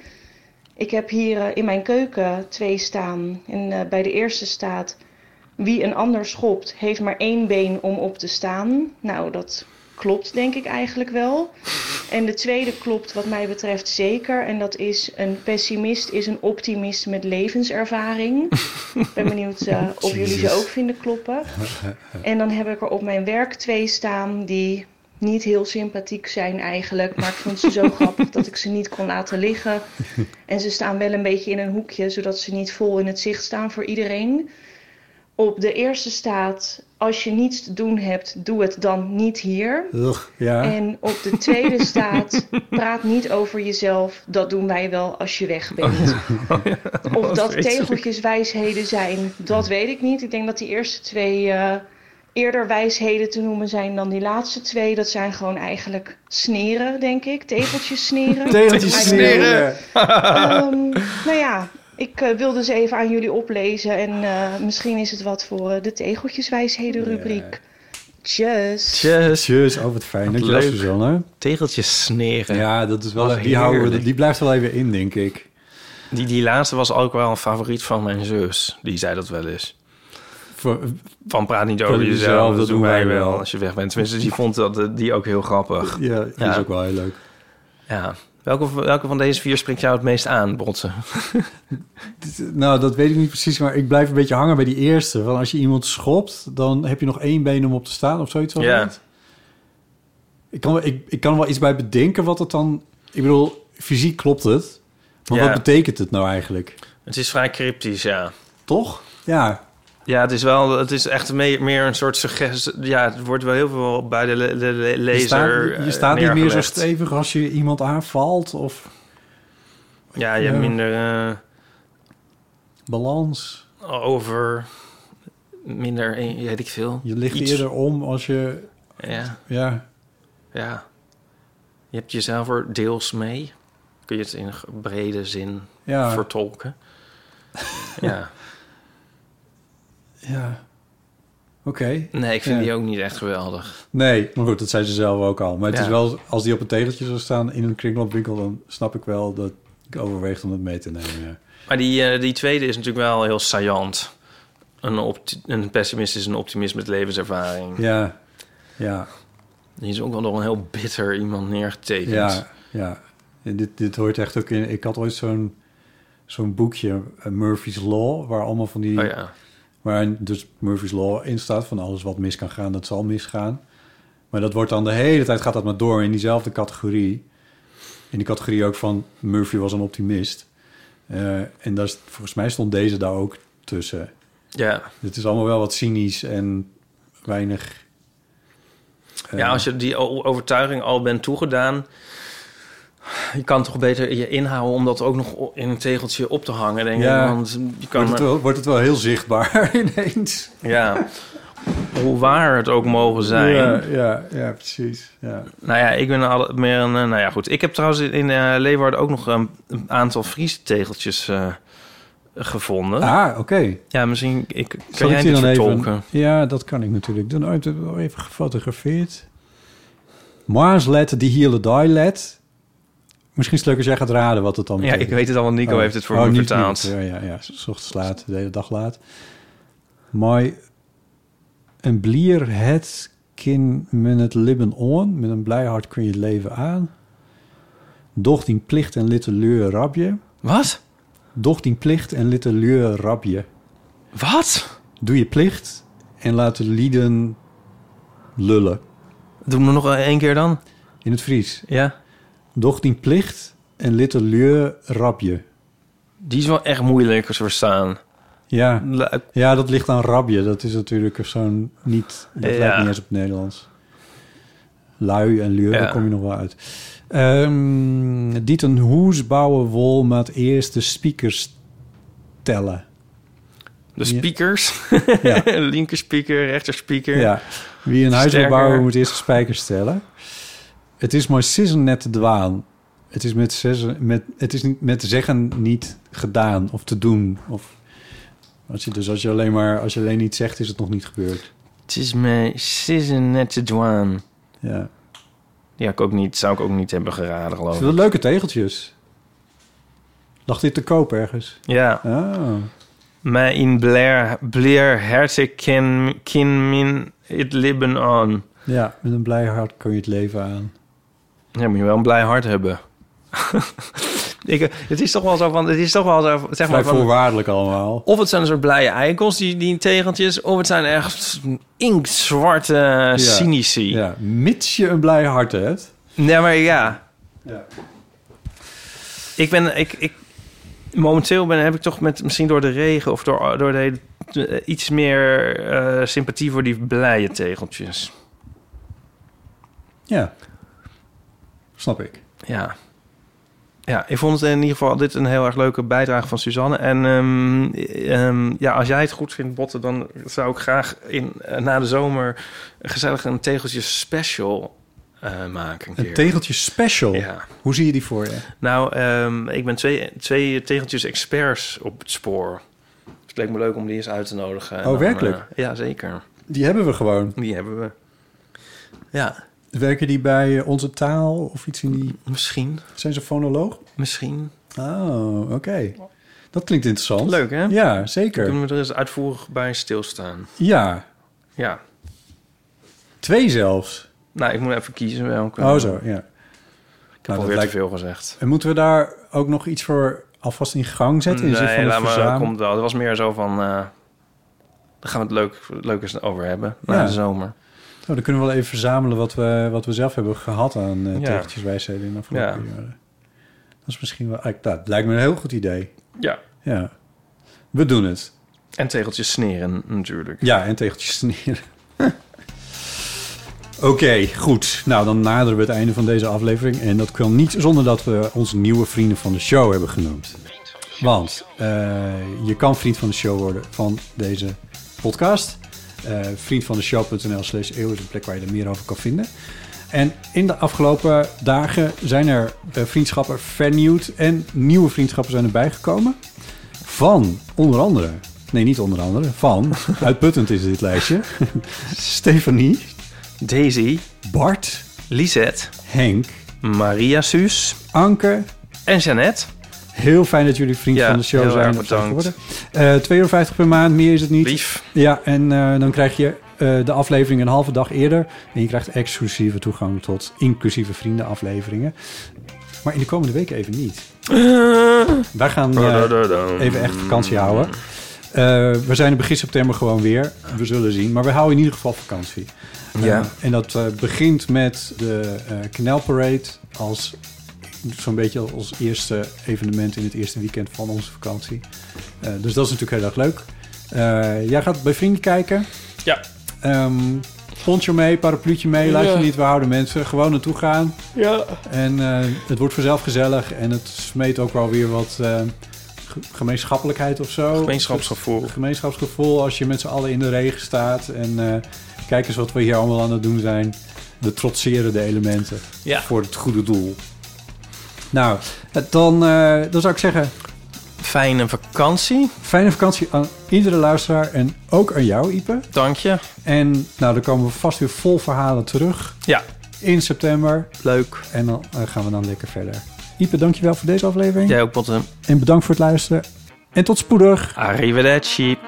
Speaker 6: Ik heb hier eh, in mijn keuken twee staan. En eh, bij de eerste staat: Wie een ander schopt, heeft maar één been om op te staan. Nou, dat klopt denk ik eigenlijk wel. En de tweede klopt, wat mij betreft, zeker. En dat is: Een pessimist is een optimist met levenservaring. Ik ben benieuwd eh, of jullie ze
Speaker 8: Jezus.
Speaker 6: ook vinden kloppen. En dan heb ik er op mijn werk twee staan die niet heel sympathiek zijn eigenlijk. Maar ik vond ze zo grappig dat ik ze niet kon laten liggen. En ze staan wel een beetje in een hoekje, zodat ze niet vol in het zicht staan voor iedereen. Op de eerste staat, als je niets te doen hebt, doe het dan niet hier.
Speaker 2: Ugh, ja.
Speaker 6: En op de tweede staat, praat niet over jezelf, dat doen wij wel als je weg
Speaker 2: Oh,
Speaker 6: bent. Of dat
Speaker 8: vreselijk.
Speaker 6: tegeltjes wijsheden zijn, dat weet ik niet. Ik denk dat die eerste twee eh, eerder wijsheden te noemen zijn dan die laatste twee. Dat zijn gewoon eigenlijk sneren, denk ik. Tegeltjes sneren.
Speaker 2: Tegeltjes
Speaker 6: I don't know.
Speaker 2: sneren.
Speaker 6: Ehm, nou ja, ik eh, wilde ze even aan jullie oplezen. En eh, misschien is het wat voor eh, de tegeltjeswijsheden rubriek. Tjus.
Speaker 1: Tjus.
Speaker 2: Tjus, oh wat fijn.
Speaker 1: Wat
Speaker 2: Dankjewel
Speaker 1: leuk.
Speaker 2: Suzanne.
Speaker 1: Tegeltjes sneren.
Speaker 2: Ja, dat is wel,
Speaker 1: Wat
Speaker 2: die, houden, we-
Speaker 1: heerlijk.
Speaker 2: die blijft wel even in, denk ik.
Speaker 1: Die, die laatste was ook wel een favoriet van mijn zus. Die zei dat wel eens. van praat niet
Speaker 2: voor
Speaker 1: over
Speaker 2: jezelf,
Speaker 1: jezelf, dat doen wij wel als je weg bent. Tenminste, die vond dat, eh, die ook heel grappig.
Speaker 2: Ja, die is ook wel heel leuk.
Speaker 1: Ja. Welke, welke van deze vier spreekt jou het meest aan, Botsen?
Speaker 2: Nou, dat weet ik niet precies, maar ik blijf een beetje hangen bij die eerste. Van als je iemand schopt, dan heb je nog één been om op te staan of zoiets. was
Speaker 1: Ja.
Speaker 2: het? Ik kan, wel- ik, ik kan er wel iets bij bedenken wat het dan... Ik bedoel, fysiek klopt het, maar
Speaker 1: Ja.
Speaker 2: wat betekent het nou eigenlijk?
Speaker 1: Het is vrij cryptisch, ja.
Speaker 2: Toch? Ja,
Speaker 1: Ja, het is wel, het is echt mee- meer een soort suggestie. Ja, het wordt wel heel veel bij de le- le- le-
Speaker 2: je
Speaker 1: lezer.
Speaker 2: staat, je
Speaker 1: eh,
Speaker 2: staat niet meer zo
Speaker 1: neergelegd.
Speaker 2: stevig als je iemand aanvalt of...
Speaker 1: Ja, je hebt
Speaker 2: Ja.
Speaker 1: minder... eh,
Speaker 2: Balans.
Speaker 1: over minder, eh, weet ik veel.
Speaker 2: Je ligt
Speaker 1: Iets.
Speaker 2: eerder om als je...
Speaker 1: Ja.
Speaker 2: Ja.
Speaker 1: Ja. Je hebt jezelf er deels mee. Kun je het in g- brede zin
Speaker 2: Ja.
Speaker 1: vertolken. ja.
Speaker 2: ja. Oké.
Speaker 1: Nee, ik vind
Speaker 2: Ja.
Speaker 1: die ook niet echt geweldig.
Speaker 2: Nee, maar goed, dat zei ze zelf ook al. Maar het
Speaker 1: Ja.
Speaker 2: is wel, als die op een tegeltje zou staan in een kringloopwinkel... dan snap ik wel dat ik overweeg om het mee te nemen. Ja.
Speaker 1: Maar die, eh, die tweede is natuurlijk wel heel saillant. Een, opti- een pessimist is een optimist met levenservaring.
Speaker 2: Ja, ja,
Speaker 1: Die is ook wel door een heel bitter iemand neergetekend.
Speaker 2: ja. ja. En dit, dit hoort echt ook in... Ik had ooit zo'n zo'n boekje, eh, Murphy's Law... waar allemaal van die...
Speaker 1: Oh ja.
Speaker 2: Waar dus Murphy's Law in staat van alles wat mis kan gaan, dat zal misgaan. Maar dat wordt dan de hele tijd, gaat dat maar door in diezelfde categorie. In die categorie ook van Murphy was een optimist. Eh, en daar, is- volgens mij stond deze daar ook tussen.
Speaker 1: Ja.
Speaker 2: Het is allemaal wel wat cynisch en weinig... eh,
Speaker 1: Ja, als je die o- overtuiging al bent toegedaan... je kan toch beter je inhouden om dat ook nog o- in een tegeltje op te hangen, denk ik.
Speaker 2: ja,
Speaker 1: Want je kan...
Speaker 2: wordt, het wel, wordt het wel heel zichtbaar ineens.
Speaker 1: Ja, hoe waar het ook mogen zijn.
Speaker 2: Ja, ja, ja, precies. Ja.
Speaker 1: Nou ja, ik ben al- meer een... eh, Nou ja, goed. Ik heb trouwens in eh, Leeuwarden ook nog een, een aantal Friese tegeltjes eh, gevonden.
Speaker 2: Ah, oké.
Speaker 1: Ja, misschien ik, kan
Speaker 2: Zal
Speaker 1: jij
Speaker 2: ik
Speaker 1: dit
Speaker 2: die dan
Speaker 1: vertolken.
Speaker 2: even- Ja, dat kan ik natuurlijk. Dan heb ik het wel even gefotografeerd. Maaslet die hier de die let. Misschien is het leuk als jij gaat raden wat het dan
Speaker 1: Ja,
Speaker 2: betekent.
Speaker 1: ik weet het al, want Nico heeft het voor me
Speaker 2: Oh. niet-
Speaker 1: vertaald.
Speaker 2: niet. Ja, ja, ja. S ochtends laat, de hele dag laat. Mooi. Een blier het kin men het libben on. Met een blij hart kun je het leven aan. Doch die plicht en litte leur rabje.
Speaker 1: Wat?
Speaker 2: Doch die plicht en litte leur rabje.
Speaker 1: Wat?
Speaker 2: Doe je plicht en laat de lieden lullen.
Speaker 1: Doe me nog één keer dan.
Speaker 2: In het Fries.
Speaker 1: Ja.
Speaker 2: Doch die plicht en litte leur rabje.
Speaker 1: Die is wel echt moeilijk te verstaan.
Speaker 2: Ja. ja, dat ligt aan rabje. Dat is natuurlijk zo'n niet... Dat
Speaker 1: Ja.
Speaker 2: lijkt niet eens op het Nederlands. Lui en leur,
Speaker 1: Ja.
Speaker 2: daar kom je nog wel uit. Ehm Diet een hoes bouwen wol met eerst de speakers tellen.
Speaker 1: De speakers.
Speaker 2: Ja.
Speaker 1: Linker speaker, rechter speaker.
Speaker 2: Ja. Wie een huis wil
Speaker 1: Sterker.
Speaker 2: bouwen, moet eerst de spijkers stellen. Het is maar sissen net te dwaan. Het is met, zessen, met, het is niet, met zeggen niet gedaan of te doen. Of, als je, dus als je alleen maar als je alleen niet zegt, is het nog niet gebeurd.
Speaker 1: Het is me sissen net te dwaan.
Speaker 2: Ja.
Speaker 1: Ja, ik ook niet. Zou ik ook niet hebben geraden,
Speaker 2: Het
Speaker 1: geloof
Speaker 2: zijn
Speaker 1: ik.
Speaker 2: wel leuke tegeltjes. Lag dit te koop ergens? Oh.
Speaker 1: Ja. Maar in Blair, Blair herte kin, kin min het libben on.
Speaker 2: Ja, met een blij hart kun je het leven aan.
Speaker 1: Ja, moet je wel een blij hart hebben. ik, eh, het is toch wel zo van... Het is toch wel zo, zeg
Speaker 2: Vrij
Speaker 1: maar van
Speaker 2: voorwaardelijk allemaal.
Speaker 1: of het zijn een soort blije eikels, die, die tegeltjes... of het zijn echt inktzwarte eh, cynici.
Speaker 2: Ja, mits je een blij hart hebt.
Speaker 1: Nee, maar ja.
Speaker 2: Ja.
Speaker 1: Ik ben... Ik, ik, momenteel ben, heb ik toch met, misschien door de regen... of door, door de hele- eh, iets meer eh, sympathie voor die blije tegeltjes.
Speaker 2: Ja. Snap ik.
Speaker 1: Ja. Ja, ik vond het in ieder geval dit een heel erg leuke bijdrage van Suzanne. En ehm, ehm, ja, als jij het goed vindt, Botte, dan zou ik graag in, eh, na de zomer gezellig een tegeltje special eh, maken. Een,
Speaker 2: Een
Speaker 1: keer.
Speaker 2: tegeltje special.
Speaker 1: Ja.
Speaker 2: Hoe zie je die voor je?
Speaker 1: Nou, ehm, ik ben twee, twee tegeltjes experts op het spoor. Dus het leek me leuk om die eens uit te nodigen. En
Speaker 2: Oh, werkelijk?
Speaker 1: eh, ja, zeker.
Speaker 2: Die hebben we gewoon.
Speaker 1: Die hebben we. Ja.
Speaker 2: Werken die bij eh, onze taal of iets in die...
Speaker 1: Misschien.
Speaker 2: Zijn ze fonoloog?
Speaker 1: Misschien.
Speaker 2: Oh, oké. Dat klinkt interessant.
Speaker 1: Leuk, hè?
Speaker 2: Ja,
Speaker 1: Dan
Speaker 2: zeker.
Speaker 1: Kunnen we er eens uitvoerig bij stilstaan.
Speaker 2: Ja,
Speaker 1: Ja.
Speaker 2: twee zelfs.
Speaker 1: Nou, ik moet even kiezen welke.
Speaker 2: Oh, zo, ja.
Speaker 1: Ik heb
Speaker 2: dat
Speaker 1: alweer
Speaker 2: lijkt-
Speaker 1: te veel gezegd.
Speaker 2: En moeten we daar ook nog iets voor alvast in gang zetten? In de zin
Speaker 1: Nee,
Speaker 2: van het
Speaker 1: laat maar,
Speaker 2: verzamelen?
Speaker 1: komt wel. Het was meer zo van... eh daar gaan we het leuk, leuk eens over hebben. Na
Speaker 2: Ja.
Speaker 1: de zomer.
Speaker 2: Nou, dan kunnen we wel even verzamelen wat we, wat we zelf hebben gehad aan eh
Speaker 1: Ja.
Speaker 2: tegeltjeswijsheden in de afgelopen
Speaker 1: Ja.
Speaker 2: jaren. Dat is misschien wel... ah, Dat lijkt me een heel goed idee.
Speaker 1: Ja.
Speaker 2: Ja. We doen het.
Speaker 1: En tegeltjes sneren natuurlijk.
Speaker 2: Ja, en tegeltjes sneren. Oké, Oké, goed. Nou, dan naderen we het einde van deze aflevering. En dat kan niet zonder dat we onze nieuwe vrienden van de show hebben genoemd. Want eh, je kan vriend van de show worden van deze podcast. Eh vriendvandeshow.nl slash eeuw is een plek waar je er meer over kan vinden. En in de afgelopen dagen zijn er eh, vriendschappen vernieuwd en nieuwe vriendschappen zijn erbij gekomen. Van onder andere, nee niet onder andere, van, uitputtend is dit lijstje, Stefanie,
Speaker 1: Daisy,
Speaker 2: Bart,
Speaker 1: Lisette,
Speaker 2: Henk,
Speaker 1: Maria Suus,
Speaker 2: Anke
Speaker 1: en Jeannette.
Speaker 2: Heel fijn dat jullie vriend
Speaker 1: Ja,
Speaker 2: van de show
Speaker 1: heel
Speaker 2: zijn.
Speaker 1: erg
Speaker 2: of zijn
Speaker 1: bedankt.
Speaker 2: geworden. Eh 2,50 euro per maand, meer is het niet. Ja, en eh, dan krijg je eh, de aflevering een halve dag eerder. En je krijgt exclusieve toegang tot inclusieve vriendenafleveringen. Maar in de komende weken even niet. Wij gaan eh, even echt vakantie houden. Eh, we zijn er begin september gewoon weer. We zullen zien. Maar we houden in ieder geval vakantie. Eh,
Speaker 1: Ja.
Speaker 2: en dat eh, begint met de eh Canal Parade als zo'n beetje als eerste evenement in het eerste weekend van onze vakantie. Eh, dus dat is natuurlijk heel erg leuk. Eh, jij gaat bij vrienden kijken.
Speaker 1: Ja.
Speaker 2: Ehm pontje mee, parapluutje mee, laat je
Speaker 1: Ja.
Speaker 2: niet we houden mensen. Gewoon naartoe gaan.
Speaker 1: Ja.
Speaker 2: En eh, het wordt vanzelf gezellig en het smeet ook wel weer wat eh, ge- gemeenschappelijkheid of zo.
Speaker 1: Gemeenschapsgevoel.
Speaker 2: Gemeenschapsgevoel als je met z'n allen in de regen staat. En eh, kijk eens wat we hier allemaal aan het doen zijn. We trotseren de elementen
Speaker 1: Ja.
Speaker 2: voor het goede doel. Nou, eh, dan, eh, dan zou ik zeggen...
Speaker 1: Fijne vakantie.
Speaker 2: Fijne vakantie aan iedere luisteraar en ook aan jou, Ipe.
Speaker 1: Dank je.
Speaker 2: En nou, dan komen we vast weer vol verhalen terug.
Speaker 1: Ja.
Speaker 2: In september.
Speaker 1: Leuk.
Speaker 2: En dan eh, gaan we dan lekker verder. Ipe, dankjewel voor deze aflevering.
Speaker 1: Jij ook, Potten.
Speaker 2: En bedankt voor het luisteren. En tot spoedig.
Speaker 1: Arrivederci.